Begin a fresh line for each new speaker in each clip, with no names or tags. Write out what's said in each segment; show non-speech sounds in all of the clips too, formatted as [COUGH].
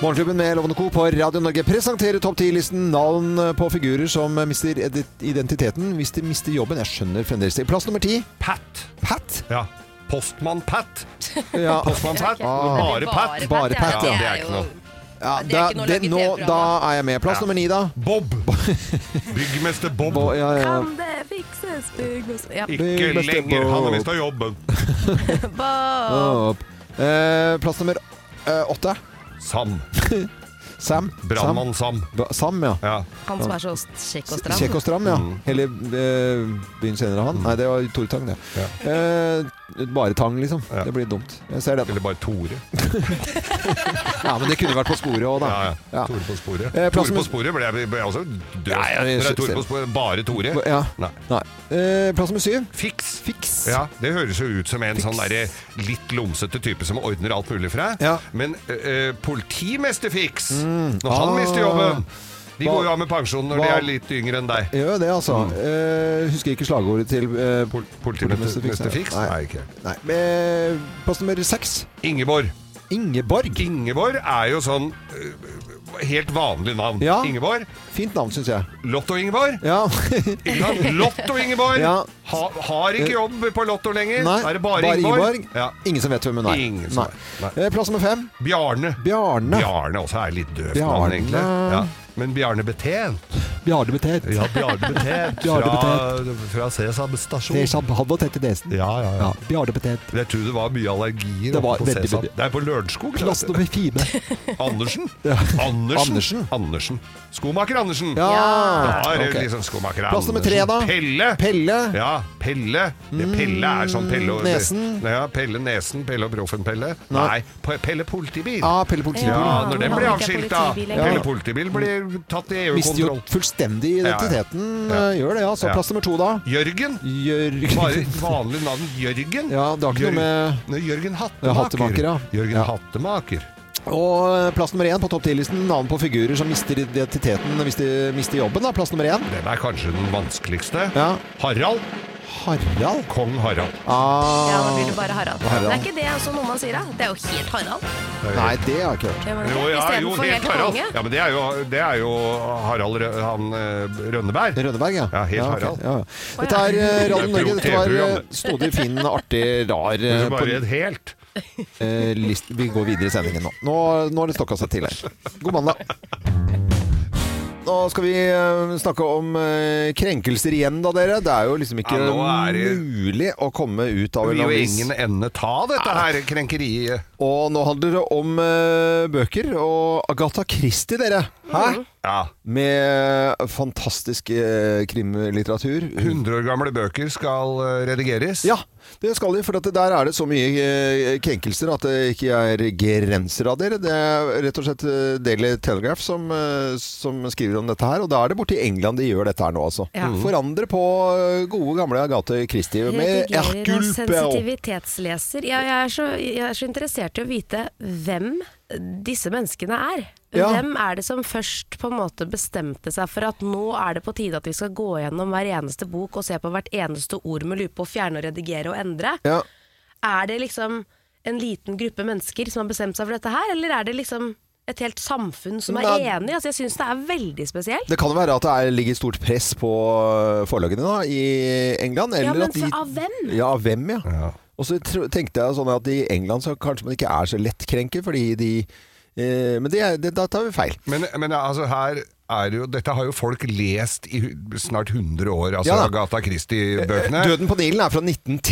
Morgenklubben med Lovende Co. på Radio Norge presenterer topp 10-listen navn på figurer som mister edit- identiteten hvis de mister jobben. Jeg skjønner fremdeles det. Plass nummer ti
Pat.
Pat.
Ja. Postmann Pat.
Ja,
Postmann Pat.
Ah.
Bare Pat.
Bare Pat,
ja. Det er ikke noe.
ja,
det
da,
er ikke noe
det,
å lage
nå,
TV-program
da er jeg med. Plass
Ja.
nummer ni, da. [LAUGHS]
Bob. Byggmester Bob.
Bo, ja, ja.
Kan det fikses, bygg ja.
Ikke
Byggmester
lenger. Han
Bob.
har mista jobben.
Bob.
Opp. Eh, plass nummer eh, åtte.
Sam.
Sam. Sam.
Brannmann Sam.
Ba- Sam, ja.
Ja.
Han som er så kjekk og stram.
Kjekk og stram, ja.
Mm.
Hele eh, byen senere, han. Nei, det var Tore Tang, det. Eh, bare Tang, liksom.
Ja.
Det blir dumt. Jeg ser den.
Eller bare Tore.
Ja, men det kunne vært på sporet òg, da.
Ja, ja.
Ja.
Tore på sporet.
Eh, plass
Tore
med-
på sporet ble jeg, ble jeg også død.
Ja, ja, jeg
Når det er Tore
ser-
på sporet, bare Tore.
Ja.
Nei.
Nei. Eh, plass nummer syv.
Fiks.
Fiks.
Ja, Det høres jo ut som en sånn derre litt lomsete type som ordner alt mulig for deg.
Ja.
Men eh, eh, politimester Fiks, når
Ah.
han mister jobben De
Hva-
går jo av med pensjon når de
hva-
er litt yngre enn deg.
Gjør jo det, altså.
Mm.
Eh, husker ikke slagordet til eh,
Pol
Politimester Fiks,
politimester
nei.
Fiks?
Nei.
Nei, ikke
Nei, eh, plass nummer seks.
Ingeborg.
Ingeborg.
Ingeborg er jo sånn eh, helt vanlig navn.
Ja.
Ingeborg.
Fint navn, syns jeg.
Lotto-Ingeborg.
Ja. [LAUGHS]
Ikke sant? Lotto-Ingeborg
Ja.
ha, har ikke jobb på Lotto lenger.
Nei,
er det bare, Ingeborg?
Ja.
Ja.
Ingen som vet hvem hun er.
Ingen som
Nei.
vet.
Eh, plass nummer fem.
Bjarne.
Bjarne.
Bjarne også er litt døvt
Bjarne.
navn, egentlig. Ja. Men Bjarne Betén
Bjarne Betet.
Ja, Bjarne Betén
Bjarne
[LAUGHS] fra, fra Sesam stasjon.
Det er som han var tett i nesen.
Ja, ja, ja.
Ja, Bjarne Betet.
Jeg tror det var mye allergier
Det var
oppe på
veldig
Sesam.
mye.
Det er på Lørenskog.
Plass
vet du.
nummer fire.
Andersen.
[LAUGHS] Ja.
Andersen.
Andersen.
Andersen. Skomaker Andersen.
Ja.
Da er det
Ok.
liksom skomaker
Plass nummer
Andersen.
tre, da.
Pelle.
Pelle.
Ja, Pelle. Det Pelle er sånn Pelle og
Nesen.
Ja, Pelle Nesen, Pelle og Proffen-Pelle.
Nei. Ah.
Nei. Pe- Pelle Politibil.
Ja, Pelle politibil.
Ja, når den
han
blir
har ikke
avskilt, da.
politibil lenger.
Pelle Politibil blir tatt i
Mister jo
EU-kontroll.
fullstendig identiteten.
Ja, ja.
eh, Gjør det, altså.
Ja.
Plass nummer to, da.
Jørgen.
Jørgen
Bare et vanlig navn Jørgen.
Ja, det har ikke noe med-
Jørgen- Nei, Jørgen Hattemaker.
Ja, Hattemaker, ja.
Jørgen
Ja.
Hattemaker.
Og plass nummer én på topp 10-listen navn på figurer som mister identiteten hvis de mister jobben. da, Plass nummer én.
Den er kanskje den vanskeligste.
Ja.
Harald.
Harald.
Kong Harald.
Ja, da
Ah.
blir det bare Harald.
Harald.
Det er ikke det altså, noe man sier, da. Det er jo helt Harald.
Nei, det har jeg ikke hørt.
Gjør man ikke
Jo, ja,
det?
jo,
Istedenfor
helt
helt
Harald.
konge.
Ja, men det er jo, det er jo Harald Rø han, eh, Rønneberg.
Rønneberg, ja.
Ja, helt
ok.
Harald.
Ja, ja. Dette er eh, Radio
Det er
Norge.
jo
Dette var
TV-program,
eh, snodig, fin, artig, rar eh,
Så
på,
Bare et helt.
eh, list. Vi går videre i sendingen nå. Nå, nå har det stokka seg til her. God mandag. Nå skal vi eh, snakke om eh, krenkelser igjen, da, dere. Det er jo liksom ikke
Ja, nå er det-
mulig å komme ut
Det
av en
vil jo
avis.
ingen ende ta, dette her krenkeriet.
Og nå handler det om eh, bøker og Agatha Christie, dere. Hæ?
Ja.
Med fantastisk eh, krimlitteratur.
100 år gamle bøker skal eh, redigeres.
Ja, det skal de, for at der er det så mye eh, krenkelser at det ikke er grenser av dere. Det er rett og slett eh, Daily Telegraph som, eh, som skriver om dette her, og da er det borte i England de gjør dette her nå, altså.
Ja.
Forandre på eh, gode gamle Agathe Christie med
Redigerer en
Hercule
Sensitivitetsleser. Ja, jeg, er så, jeg er så interessert i å vite hvem disse menneskene er.
Ja.
Hvem er det som først på en måte bestemte seg for at nå er det på tide at vi skal gå gjennom hver eneste bok og se på hvert eneste ord med lupe og fjerne og redigere og endre?
Ja.
Er det liksom en liten gruppe mennesker som har bestemt seg for dette her, eller er det liksom et helt samfunn som er
Nei.
enig? Altså, jeg syns det er veldig spesielt.
Det kan jo være at det er, ligger stort press på eh, forlagene da, i England. Eller
Ja, men
at de,
for- av hvem?
Ja, av hvem, ja.
Ja.
Og så tro- tenkte jeg sånn at i England så kanskje man ikke øh, er så lettkrenker, fordi de eh, Men det, er- det, da tar vi feil.
Men, men altså her er jo Dette har jo folk lest i hu- snart 100 år, altså
Ja da. Eh,
Agatha Christie-bøkene.
Døden på Nilen er fra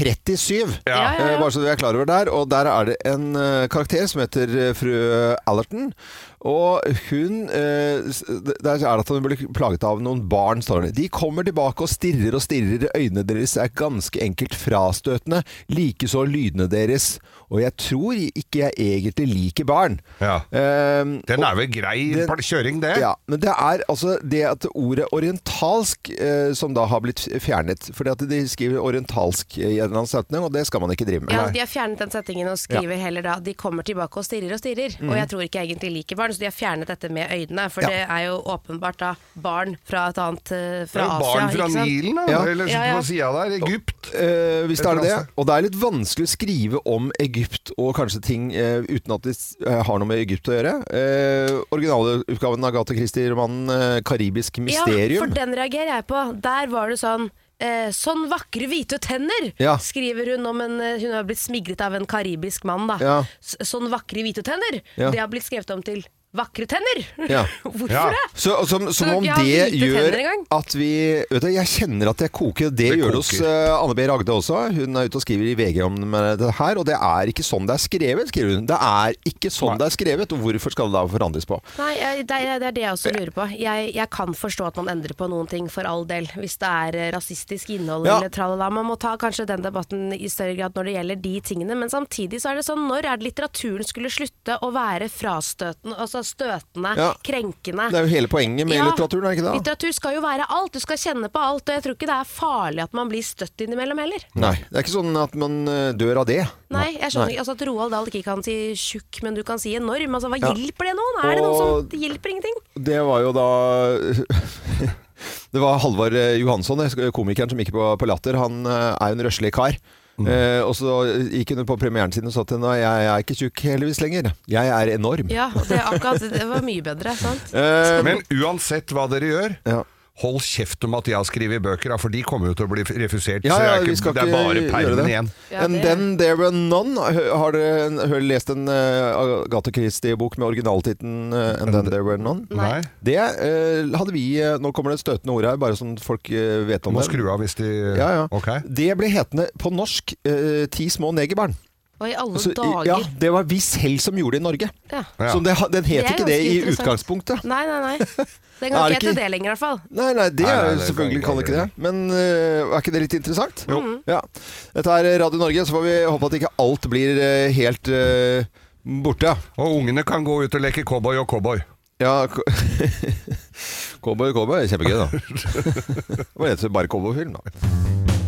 1937.
Ja.
Ja, ja, ja.
Eh, Bare så du er klar over der. Og der er det en eh, karakter som heter eh, fru Allerton. Og hun eh, s- Der er det at hun blir plaget av noen barn, står det. De kommer tilbake og stirrer og stirrer. Øynene deres er ganske enkelt frastøtende. Likeså lydene deres. Og jeg tror ikke jeg egentlig liker barn.
Ja.
Eh,
Den er vel grei
Den-
pal- kjøring, det?
ja, men det er altså det at ordet orientalsk eh, som da har blitt fjernet. Fordi at de skriver orientalsk eh, i en eller annen setning, og det skal man ikke drive med.
Ja, de har fjernet den settingen og skriver heller da De kommer tilbake og stirrer og stirrer Og jeg tror ikke jeg egentlig liker barn Så de har fjernet dette med øynene For
Ja.
det er jo åpenbart da barn fra et annet eh,
Det er
Fra
jo
Asia
barn fra
ikke sant?
Nilen, da,
Ja.
eller
Ja, ja.
på sida der. Egypt.
Eh, hvis det er det.
Konkurranse.
Og det er litt vanskelig å skrive om Egypt og kanskje ting eh, uten at det s- eh, har noe med Egypt å gjøre. Eh, originalutgaven av Agatha Christie-romanen eh, 'Karibisk
Ja,
mysterium'.
for den reagerer jeg på Der var det sånn eh, Sånn vakre hvite tenner
Ja.
Skriver hun om en eh, Hun har blitt smigret av en karibisk mann da
Ja.
S- Sånn vakre hvite tenner
Ja.
Det har blitt skrevet om til vakre tenner
Ja.
[LAUGHS] Hvorfor
Ja.
det?
Så, og som, som
Så
om
jeg har
det
hvite
gjør
tenner engang.
at vi vet du, Jeg kjenner at jeg koker. Det,
Det
gjør det
koker.
hos eh, Anne B. Ragde også. Hun er ute og skriver i VG om eh, det her, og det er ikke sånn det er skrevet, skriver hun. Det er ikke sånn det er skrevet, og hvorfor skal det da forandres på?
Nei, jeg- det er, det er det jeg også lurer på. Jeg, jeg kan forstå at man endrer på noen ting, for all del. Hvis det er eh, rasistisk innhold
Ja.
eller tralala. Man må ta kanskje den debatten i større grad når det gjelder de tingene. Men samtidig så er det sånn, når er det litteraturen skulle slutte å være frastøtende, altså støtende,
Ja.
krenkende?
Det er jo hele poenget med litteraturen, er det ikke det? da?
Litteratur skal jo være alt. Du skal kjenne på alt. Og jeg tror ikke det er farlig at man blir støtt innimellom heller.
Nei. Det er ikke sånn at man eh, dør av det.
Nei, jeg skjønner ikke altså at Roald Dahl ikke kan si tjukk, men du kan si enorm. Altså, hva hjelper det noen? Er det noen som
Og-
Det hjelper ingenting.
Det var jo da [LAUGHS] Det var Halvard eh, Johansson, eh, komikeren som gikk på, på Latter. Han eh, er jo en røslig kar.
Mm.
Eh, og så gikk hun på premieren sin og sa til henne jeg er ikke tjukk heldigvis lenger. Jeg er enorm.
Ja, det, er akkurat, det var mye bedre, sant?
Eh,
Men uansett hva dere gjør,
Ja.
hold kjeft om at jeg har skrevet bøker, da, for de kommer jo til å bli refusert.
Ja,
så det
ja,
er,
vi
ikke,
skal
det er
ikke
bare
gjøre
permen
det.
igjen.
Ja,
And
det-
then there were none. Hø- Har dere en- har dere lest en eh, Agatha Christie-bok med originaltittelen eh, And then there were none?
Nei.
Det eh, hadde vi eh, Nå kommer det et støtende ord her, bare sånn folk eh, vet
Du
om
må
det.
skru av hvis de
Ja, ja.
Ok.
Det ble hetende på norsk eh, 'Ti små negerbarn'.
Og i alle
Så, altså, i-
dager.
ja, det var vi selv som gjorde det i Norge.
Ja.
Ja.
Så det, ha- den het
Det er
ikke det
ganske
i
interessant.
utgangspunktet.
Nei, nei, nei.
Er
Den kan
det
ikke hete
ikke-
det lenger, i hvert fall.
Nei, nei, det
Nei, nei,
er
det kan
selvfølgelig kan
vi
det
ikke
ikke det. Men øh, er ikke det litt interessant? Jo.
Mm.
Ja. Dette er Radio Norge, så får vi håpe at ikke alt blir øh, helt øh, borte.
Og ungene kan gå ut og leke cowboy og cowboy.
Ja, [LAUGHS] ko- cowboy, cowboy. Kjempegøy, [LAUGHS] da. det var rett og slett bare cowboyfilm, da.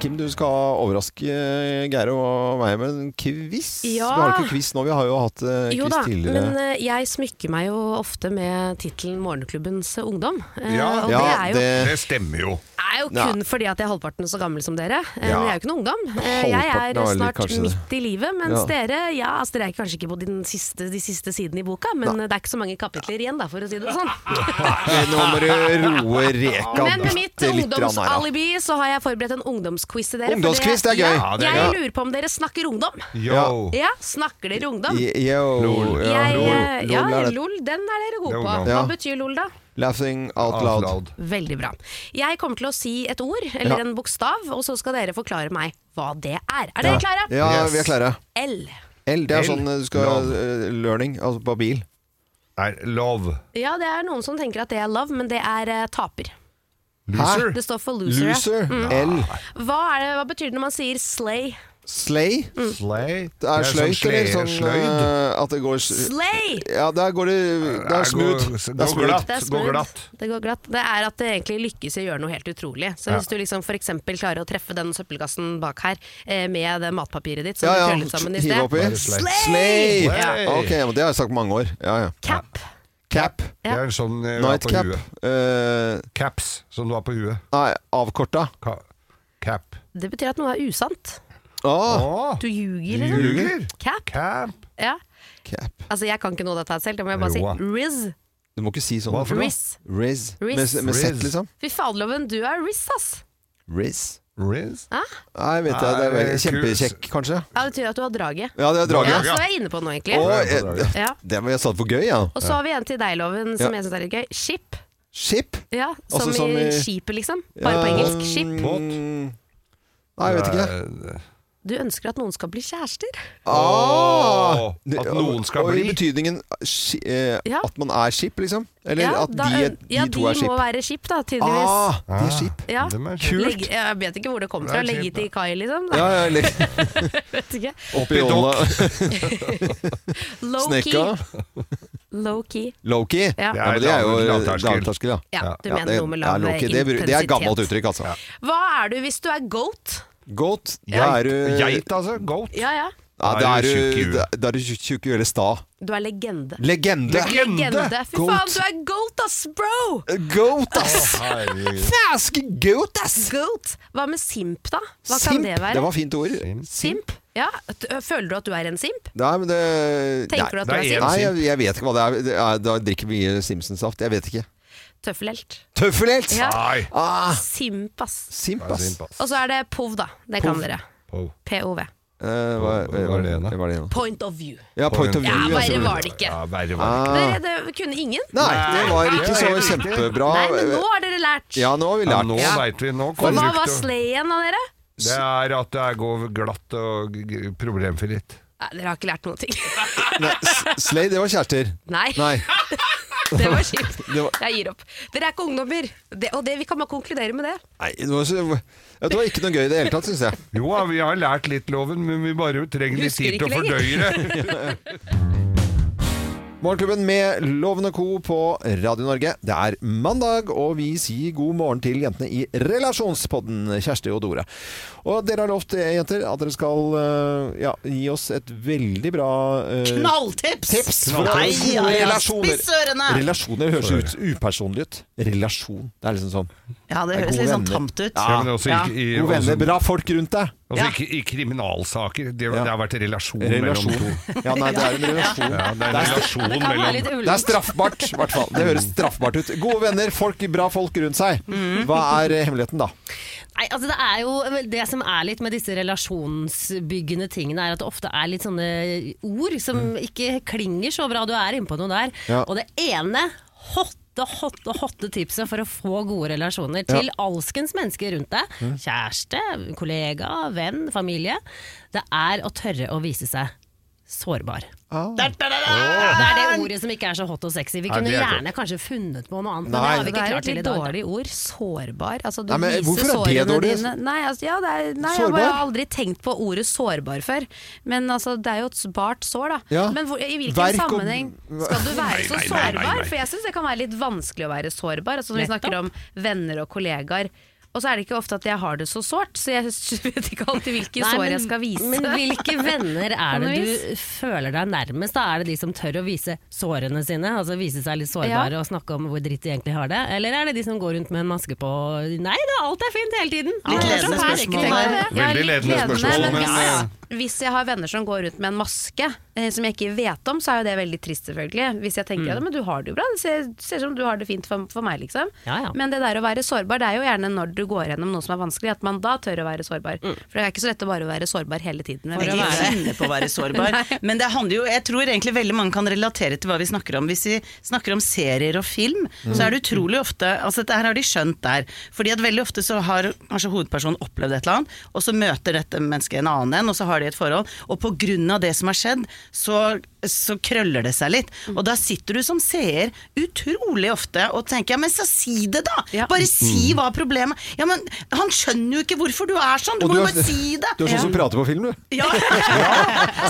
Kim, du skal overraske eh, Geir og meg med en quiz.
Ja.
Vi har ikke quiz nå, vi har jo hatt øh,
Jo
quiz
da,
tidligere.
men eh, jeg smykker meg jo ofte med tittelen 'Morgenklubbens ungdom'. Eh,
Ja.
og det er jo,
Eh.
Det stemmer jo.
er jo
Ja.
kun fordi at jeg er halvparten så gammel som dere.
Ja.
Eh, Men jeg er jo ikke noe ungdom. Eh, jeg
Halvparten
er
er vel
snart
kanskje det.
midt i livet, mens
Ja.
dere ja, altså dere er kanskje ikke på den siste, de siste sidene i boka, men eh, det er ikke så mange kapitler igjen, da, for å si det sånn.
Nei, Eh, Nå må du roe reka
Men med mitt
bitte litt grann her, da.
ungdomsalibi så har jeg forberedt en ungdomsquiz til dere. for
Ungdomsquiz, det er gøy.
Ja,
Ja, det er
jeg
gøy.
lurer på om dere snakker ungdom.
Yo.
Ja, snakker dere ungdom?
Ye- Yo,
Lol.
ja,
jeg,
lol,
eh, ja,
lol er det.
lol, den er dere
Det
gode
er
på.
ungdom.
Ja.
Hva betyr lol, da?
Laughing out
Out
loud.
loud.
Veldig bra. Jeg kommer til å si et ord, eller
Ja.
en bokstav, og så skal dere forklare meg hva det er.
Ja.
Er dere klare?
Ja,
Yes.
vi er klare.
L.
L, det er
L.
sånn eh, du skal
Lov.
eh, learning, altså på bil.
Nei, love.
Ja, det er noen som tenker at det er love, men det er eh, taper.
Loser. Ah,
Det står for loser. ja. Mm.
Loser. L.
Hva, er det, hva betyr det når man sier slay?
Slay.
Slay.
Det Mm. er
sånn
sløyt, eller sånn
sløyd.
eh, at det går s-
Slay!
Ja, der går det Det
Der
er smooth.
går-
Det
går
er smooth.
glatt.
Det er
Går
smooth.
glatt.
Det går glatt. Det er at det egentlig lykkes i å gjøre noe helt utrolig. Så
Ja.
hvis du liksom f.eks. klarer å treffe den søppelkassen bak her eh, med det matpapiret ditt som
Ja,
du
ja.
krøllet sammen i
Hiv
sted.
oppi.
Slay.
Slay!
Slay.
Ok, men det har jeg sagt mange år. Ja, ja.
Cap.
Cap.
Det er en sånn eh, du har på
Nightcap.
huet.
Eh,
Caps, som du har på huet.
nei, avkorta.
Ka cap.
Det betyr at noe er usant.
Åh,
Åh,
Du ljuger,
du
liksom.
ljuger!
Cap.
Cap.
Ja.
cap.
Altså, jeg kan ikke noe av dette her selv, det må jeg bare
Roa.
si. Riz.
Du må ikke si sånn.
Hva for noe?
Riz.
Riz.
Riz.
Med, med Z,
Riz.
liksom.
Fy faderloven, du er Riz, ass.
Riz.
Riz?
Nei, vet jeg, det er veldig kjempekjekk, kanskje.
Ja, det betyr at du har draget.
Ja, det er
Ja,
draget.
så er jeg inne på nå, egentlig.
Å,
Ja,
jeg-
draget.
Ja.
det var jeg satt for gøy, ja.
Og så har vi en til deg-loven som
Ja.
jeg syns er litt gøy. Ship.
Skip?
Ja, som,
Altså, som
i
i-
skipet, liksom. Bare på
Ja.
engelsk. Ship.
Båt?
Nei, jeg vet ikke.
Eh,
Du ønsker at noen skal bli kjærester.
Ah,
Åh, at noen skal
og, Og
bli.
i betydningen ski- eh,
Ja.
at man er skip, liksom? Eller
ja,
at
da
de,
øn-
de
ja,
to er skip?
må være skip, da, tydeligvis.
Ah, de er skip.
ja.
Hvem er
Kult.
Legg, jeg vet ikke hvor det
Det
kommer fra.
er
Legge
skip,
til kai, liksom. [LAUGHS]
Ja, ja, [LAUGHS] eller
Vet ikke.
oppi åla.
Low
Snekka.
key. Low key.
Low-key.
Ja.
Ja, men det er jo
Lavterskel.
lavterskel, ja.
Ja, du
Ja,
mener
det-
noe med
ja,
lav
low-key. det, bru-
intensitet.
det er gammelt uttrykk, altså.
Hva er du hvis du er goat?
Goat, da
Geit,
er du
Geit, altså. Goat.
Ja, ja.
Ja, da er
Da er du tjukk i
du
huet.
da- da er du tjukk tjukk i huet eller sta.
Du er legende.
Legende!
Legende.
Legende. Fy
Goat.
faen, du er goat, ass, bro!
Eh, Goat, ass!
Herregud.
Fæske goat, ass!
Goat. Hva med simp, da? Hva
Simp.
kan det være?
Det var fint ord.
Simp? Ja. T- Føler du at du er en simp?
Nei, men det
Tenker du
det
at du
er
er
en-
simp?
Nei, jeg, jeg vet ikke hva det er. Det er da drikker vi mye Simpsons-saft. Jeg vet ikke.
Tøffelhelt.
Tøffelhelt!
Ja.
Nei.
Ah,
Simp, ass.
simp,
Nei,
ass.
synd på oss.
Og så er det POV, da. Det kan dere.
Pov.
POV.
Eh, hva, hva,
Hva er det igjen, da?
hva er det igjen?
Point of view.
Ja, point of view.
Ja,
altså.
verre var det ikke.
Ja, verre var det ikke.
Ah.
Dere, det kunne ingen?
Nei, det var ikke så
Nei, det er riktig.
kjempebra.
Nei, men nå har dere lært.
Ja, nå har vi
Ja,
lært.
nå
Ja.
veit vi. Nå
Og
kommer
hva
du
var
ikke til å-
slayen av dere?
Det er at det er går glatt og g- g- problemfritt.
Nei, dere har ikke lært noen ting. [LAUGHS]
Nei, s- Slay, det var kjærester.
Nei,
Nei.
[LAUGHS] det var kjipt.
Det var,
Jeg gir opp. Dere er ikke ungdommer, det, og det, vi kan bare konkludere med det.
nei det, var så, det var ikke noe gøy i det hele tatt, syns jeg.
Jo, ja, vi har lært litt loven, men vi bare trenger litt
Husker
tid til å
ikke
fordøye det.
Morgenklubben med Lovende Co. på Radio Norge. Det er mandag, og vi sier god morgen til jentene i relasjonspodden, Kjersti og Dora. Og dere har lovt, eh, jenter, at dere skal eh, ja, gi oss et veldig bra eh,
Knalltips!
tips for
Nei,
å-
ja, ja.
relasjoner.
Spiss ørene!
Relasjoner høres ut upersonlig ut. Relasjon. Det er liksom sånn.
Ja, det
er
høres
gode
litt sånn
venner.
tamt ut.
Ja, men også
Ja.
ikke i,
Gode venner,
også,
bra folk rundt deg.
også ikke i kriminalsaker. Det, det har vært en relasjon,
Relasjon.
mellom to.
Ja, nei, det er en relasjon.
Ja, det er en relasjon
Det kan være litt
mellom
Det er
ulent.
straffbart, i hvert fall. Det høres straffbart ut. Gode venner, folk, bra folk rundt seg.
Mm.
Hva er eh, hemmeligheten, da?
Nei, altså Det er jo vel, det som er litt med disse relasjonsbyggende tingene, er at det ofte er litt sånne ord som ikke klinger så bra. Du er inne på noe der.
Ja.
Og det ene hotte, hotte, hotte tipset for å få gode relasjoner til alskens mennesker rundt deg, kjæreste, kollega, venn, familie, det er å tørre å vise seg sårbar.
Der, der, der,
Det
der.
er det ordet som ikke er så hot og sexy. Vi
Nei,
kunne
det er godt.
gjerne kanskje funnet på noe annet, men
Nei.
det har vi
Det
ikke
er
klart
et
til
litt
i dag.
dårlig ord. Sårbar. Altså, du
Nei, men hvorfor
viser
er det
sårene
dårlig?
dine. Nei, altså, ja, det er, nei jeg
Sårbar?
har aldri tenkt på ordet sårbar før. Men altså, det er jo et bart sår, da.
Ja.
Men hvor, i hvilken
Verk og-
sammenheng skal du være så
Nei, nei, nei, nei,
sårbar?
nei.
For jeg syns det kan være litt vanskelig å være sårbar. Altså, når vi
Nettopp.
snakker om venner og kollegaer. Og så er det ikke ofte at jeg har det så sårt, så jeg [LAUGHS] vet ikke alltid hvilke
Nei,
sår
men-
jeg skal vise.
Men hvilke venner er det
Vanligvis.
du føler deg nærmest? Da? Er det de som tør å vise sårene sine? Altså vise seg litt sårbare og snakke om hvor dritt de egentlig har det? Eller er det de som går rundt med en maske på og, Nei da, alt er fint hele tiden. Alt er
ledende
som her, ikke
spørsmål
tenk på
her.
det.
Ja,
Veldig
litt
ledende spørsmål,
men
men, eh,
hvis, hvis jeg har venner som går rundt med en maske eh, som jeg ikke vet om, så er jo det veldig trist, selvfølgelig. Hvis jeg tenker at men du har det jo bra, det ser, ser ut som du har det fint for, for meg, liksom.
Ja, ja.
Men det der å være sårbar, det er jo gjerne når du går gjennom noe som er vanskelig, at man da tør å være sårbar. For det er ikke så lett å bare være sårbar hele tiden.
For å
Jeg
Veldig
være-
kjenner på å være
[LAUGHS]
[LAUGHS]
sårbar. Men det handler jo, jeg tror egentlig veldig mange kan relatere til hva vi snakker om. Hvis vi snakker om serier og film, så
Mm.
er det utrolig ofte Altså dette her har de skjønt der. Fordi at veldig ofte så har kanskje hovedpersonen opplevd et eller annet, og så møter dette mennesket en annen en, og så har de et forhold. Og på grunn av det som har skjedd, så, så krøller det seg litt. Og da sitter du som seer utrolig ofte og tenker ja, men så si det da!
Ja.
Bare
Mm.
si hva problemet Ja, men han skjønner jo ikke hvorfor du er sånn! Du
Og
må jo
er-
bare si det!
Du er sånn som prater på film, du.
[LAUGHS]
Ja.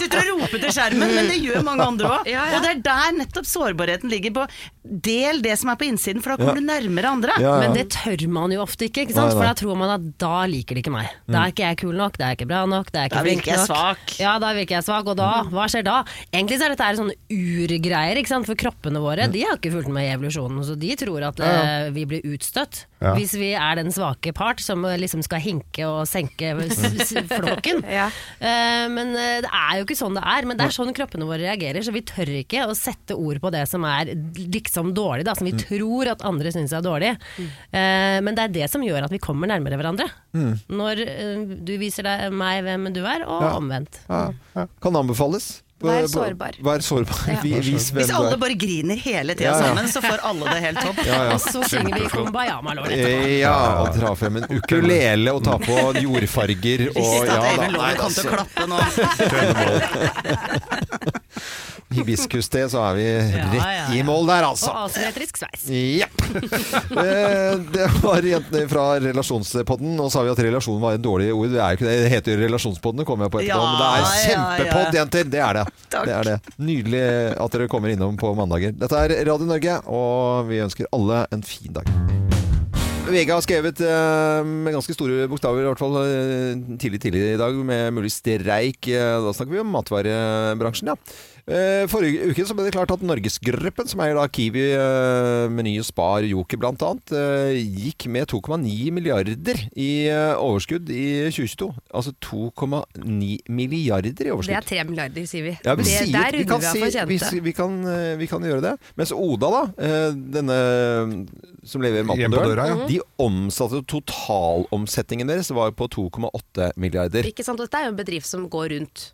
Sitter og roper til skjermen, men det gjør mange andre òg.
Ja, ja.
Og det er der nettopp sårbarheten ligger. på Del det som er på innsiden, for da
Ja.
kommer du nærmere andre.
Ja, ja.
Men det tør man jo ofte ikke, ikke
Nei,
sant?
nei. Mm.
for da tror man at da liker de ikke meg. Da er ikke jeg kul nok, da er jeg ikke bra nok, da er jeg
Da
ikke flink
virker jeg
nok.
svak.
Ja, da virker jeg svak, og da? Hva skjer da? Egentlig så er dette her sånne urgreier, ikke sant? for kroppene våre de har ikke fulgt med i evolusjonen. Så de tror at eh, vi blir utstøtt
Ja.
hvis vi er den svake part som eh, liksom skal hinke og senke s- s- flokken.
Ja.
Eh, men eh, det er jo ikke sånn det er. Men det er sånn kroppene våre reagerer, så vi tør ikke å sette ord på det som er liksom dårlig, da, som vi tror at andre syns er dårlig. Eh, men det er det som gjør at vi kommer nærmere hverandre. Når eh, du viser deg, meg hvem du er, og
Ja.
omvendt.
Ja, ja. Kan anbefales.
Vær sårbar.
Vær sårbar. Vi- Vis hvem
Hvis
du
alle
er.
bare griner hele tida
Ja, ja.
sammen, så får alle det helt topp.
Ja,
[LAUGHS]
ja.
Og så synger vi
Kjempeflott.
Kumbayama-låret.
Eh, Ja, og dra frem en ukulele og ta på jordfarger og
Visste at
ja, da,
Eivind
nei,
Loven kom til å
altså,
klappe nå.
Hibiskus-te, så er vi rett i mål der, altså.
Og asymmetrisk sveis.
Ja.
[LAUGHS]
Eh, Det var jentene fra Relasjonspodden. Nå sa vi at relasjon var et dårlig ord. Det er jo ikke det. Det heter jo Relasjonspodden, det kommer jeg på etterpå.
Ja,
Men det er
ja,
kjempepod,
ja.
jenter! Det er det.
Takk.
det er det. Nydelig at dere kommer innom på mandager. Dette er Radio Norge, og vi ønsker alle en fin dag. VG har skrevet eh, med ganske store bokstaver, i hvert fall eh, tidlig tidlig i dag, med mulig streik. Eh, da snakker vi om matvarebransjen, ja. Eh, forrige uke så ble det klart at Norgesgruppen, som eier da Kiwi, eh, Meny og Spar, Joker bl.a., eh, gikk med 2,9 milliarder i eh, overskudd i 2022. Altså 2,9 milliarder i
Det
overskudd.
er tre milliarder, sier vi.
Ja, vi
det,
sier,
der
vi kan
runder vi av
si-
for
vi,
kjente.
si- vi, kan, eh, vi kan gjøre det. Mens Oda, da, eh, denne eh, som leverer mat på
Hjemme på
døren,
døra, ja.
de omsatte totalomsetningen deres var på 2,8 milliarder.
Ikke sant? Og Dette er jo en bedrift som går rundt.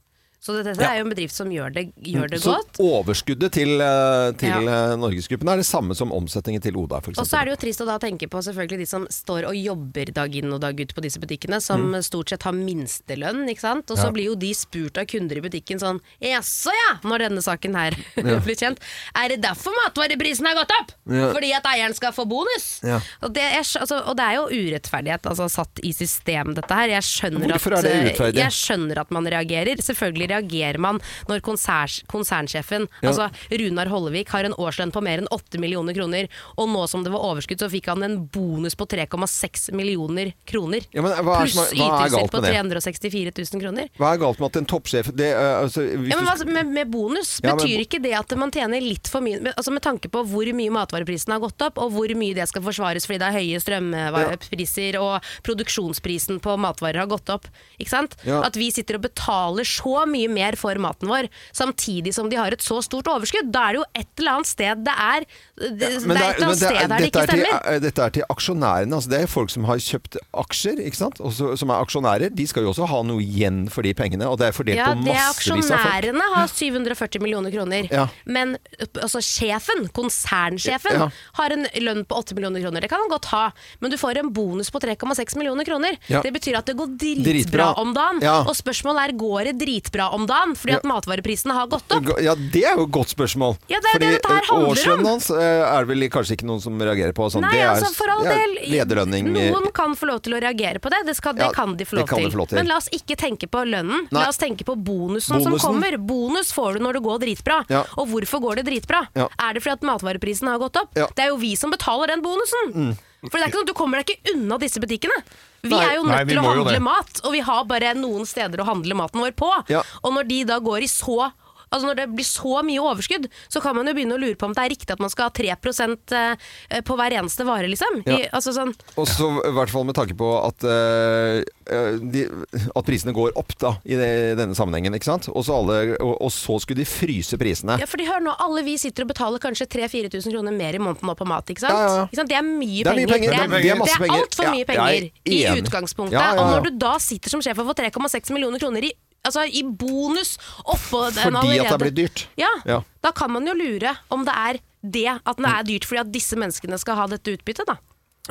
Så dette
Ja. Mm.
er jo en bedrift som gjør det, gjør det
Så
godt.
overskuddet til, eh, til
Ja.
eh, Norgesgruppen er det samme som omsetningen til Oda, f.eks.
Og så er det jo trist å da tenke på selvfølgelig de som står og jobber dag inn og dag ut på disse butikkene, som
Mm.
stort sett har minstelønn, ikke sant. Og så blir jo de spurt av kunder i butikken sånn Jaså ja, når denne saken her [LAUGHS] blir kjent. Er det derfor matvareprisen har gått opp?
Ja.
Fordi at eieren skal få bonus?
Ja.
Og, det er, altså, og det er jo urettferdighet altså, satt i system, dette her. Jeg skjønner, at, eh,
Hvorfor er det urettferdig?
jeg skjønner at man reagerer. Selvfølgelig reagerer man når konsers, konsernsjefen,
Ja.
altså Runar Hollevik, har en årslønn på mer enn 8 millioner kroner, og nå som det var overskudd, så fikk han en bonus på 3,6 millioner kroner.
Ja, men hva er
Pluss
som er- hva er
ytelser
galt med
på
det?
364 000 kroner.
Hva er galt med at en toppsjef det, eh, altså, hvis
Ja, men
du-
hva, med, med bonus
Ja, men-
betyr ikke det at man tjener litt for mye men- altså Med tanke på hvor mye matvareprisen har gått opp, og hvor mye det skal forsvares fordi det er høye strømpriser og produksjonsprisen på matvarer har gått opp. Ikke sant?
Ja.
At vi sitter og betaler så mye mer for maten vår, samtidig som de har et så stort overskudd. Da er det jo et eller annet sted det er Det, det er et
Men
eller
men
annet sted der det
dette
ikke
er til-
stemmer.
eh, Dette er til aksjonærene. Altså det er folk som har kjøpt aksjer, ikke sant? Og så- som er aksjonærer. De skal jo også ha noe igjen for de pengene, og det er fordelt
Ja,
på
det er
massevis av folk.
aksjonærene har 740 millioner kroner.
Ja.
Men altså, sjefen, konsernsjefen,
Ja.
har en lønn på 8 millioner kroner. Det kan han godt ha, men du får en bonus på 3,6 millioner kroner.
Ja.
Det betyr at det går dritbra,
Dritbra.
om dagen.
Ja.
Og spørsmålet er går det dritbra om dagen fordi at
Ja.
matvareprisene har gått opp.
Ja, det er jo et godt spørsmål.
Ja, det er
Fordi
det dette her handler om.
årslønnen hans eh, er det vel kanskje ikke noen som reagerer på. Sånn.
Nei,
det er,
altså for all
det er
del.
Lederlønning. eh,
Noen kan få lov til å reagere på det. Det, skal, det
Ja,
kan de få lov
det kan de
til.
få lov til.
Men la oss ikke tenke på lønnen.
Nei.
La oss tenke på bonusen,
Bonusen.
som kommer. Bonus får du når det går dritbra.
Ja.
Og hvorfor går det dritbra?
Ja.
Er det fordi at matvareprisen har gått opp?
Ja. Mm.
Det er jo vi som betaler den bonusen. For det er ikke sånn, Du kommer deg ikke unna disse butikkene. Vi
Nei.
er jo
Nei,
nødt
vi
til å
må jo
handle
det.
mat, og vi har bare noen steder å handle maten vår på.
Ja.
Og når de da går i så Altså Når det blir så mye overskudd, så kan man jo begynne å lure på om det er riktig at man skal ha 3 eh, eh, på hver eneste vare, liksom. I, altså sånn,
Og så i hvert fall med tanke på at, eh, eh, de, at prisene går opp da, i det, denne sammenhengen. Ikke sant? Og, så alle, og, og så skulle de fryse prisene.
ja, fordi hør nå, alle vi sitter og betaler kanskje 3000-4000 kroner mer i måneden nå på mat, ikke sant?
Ja, ja, ja.
Ikke sant? Det er mye
Det er mye
penger.
Det
penger.
er- det er
det
masse
er
penger.
altfor mye
Ja, jeg er
penger i
enig.
utgangspunktet.
Ja, ja, ja.
Og når du da sitter som sjef og får 3,6 millioner kroner i, altså, i bonus oppå den
Fordi
allerede
at det er blitt dyrt.
Ja,
Ja.
da kan man jo lure om det er det at det er dyrt fordi at disse menneskene skal ha dette utbyttet, da.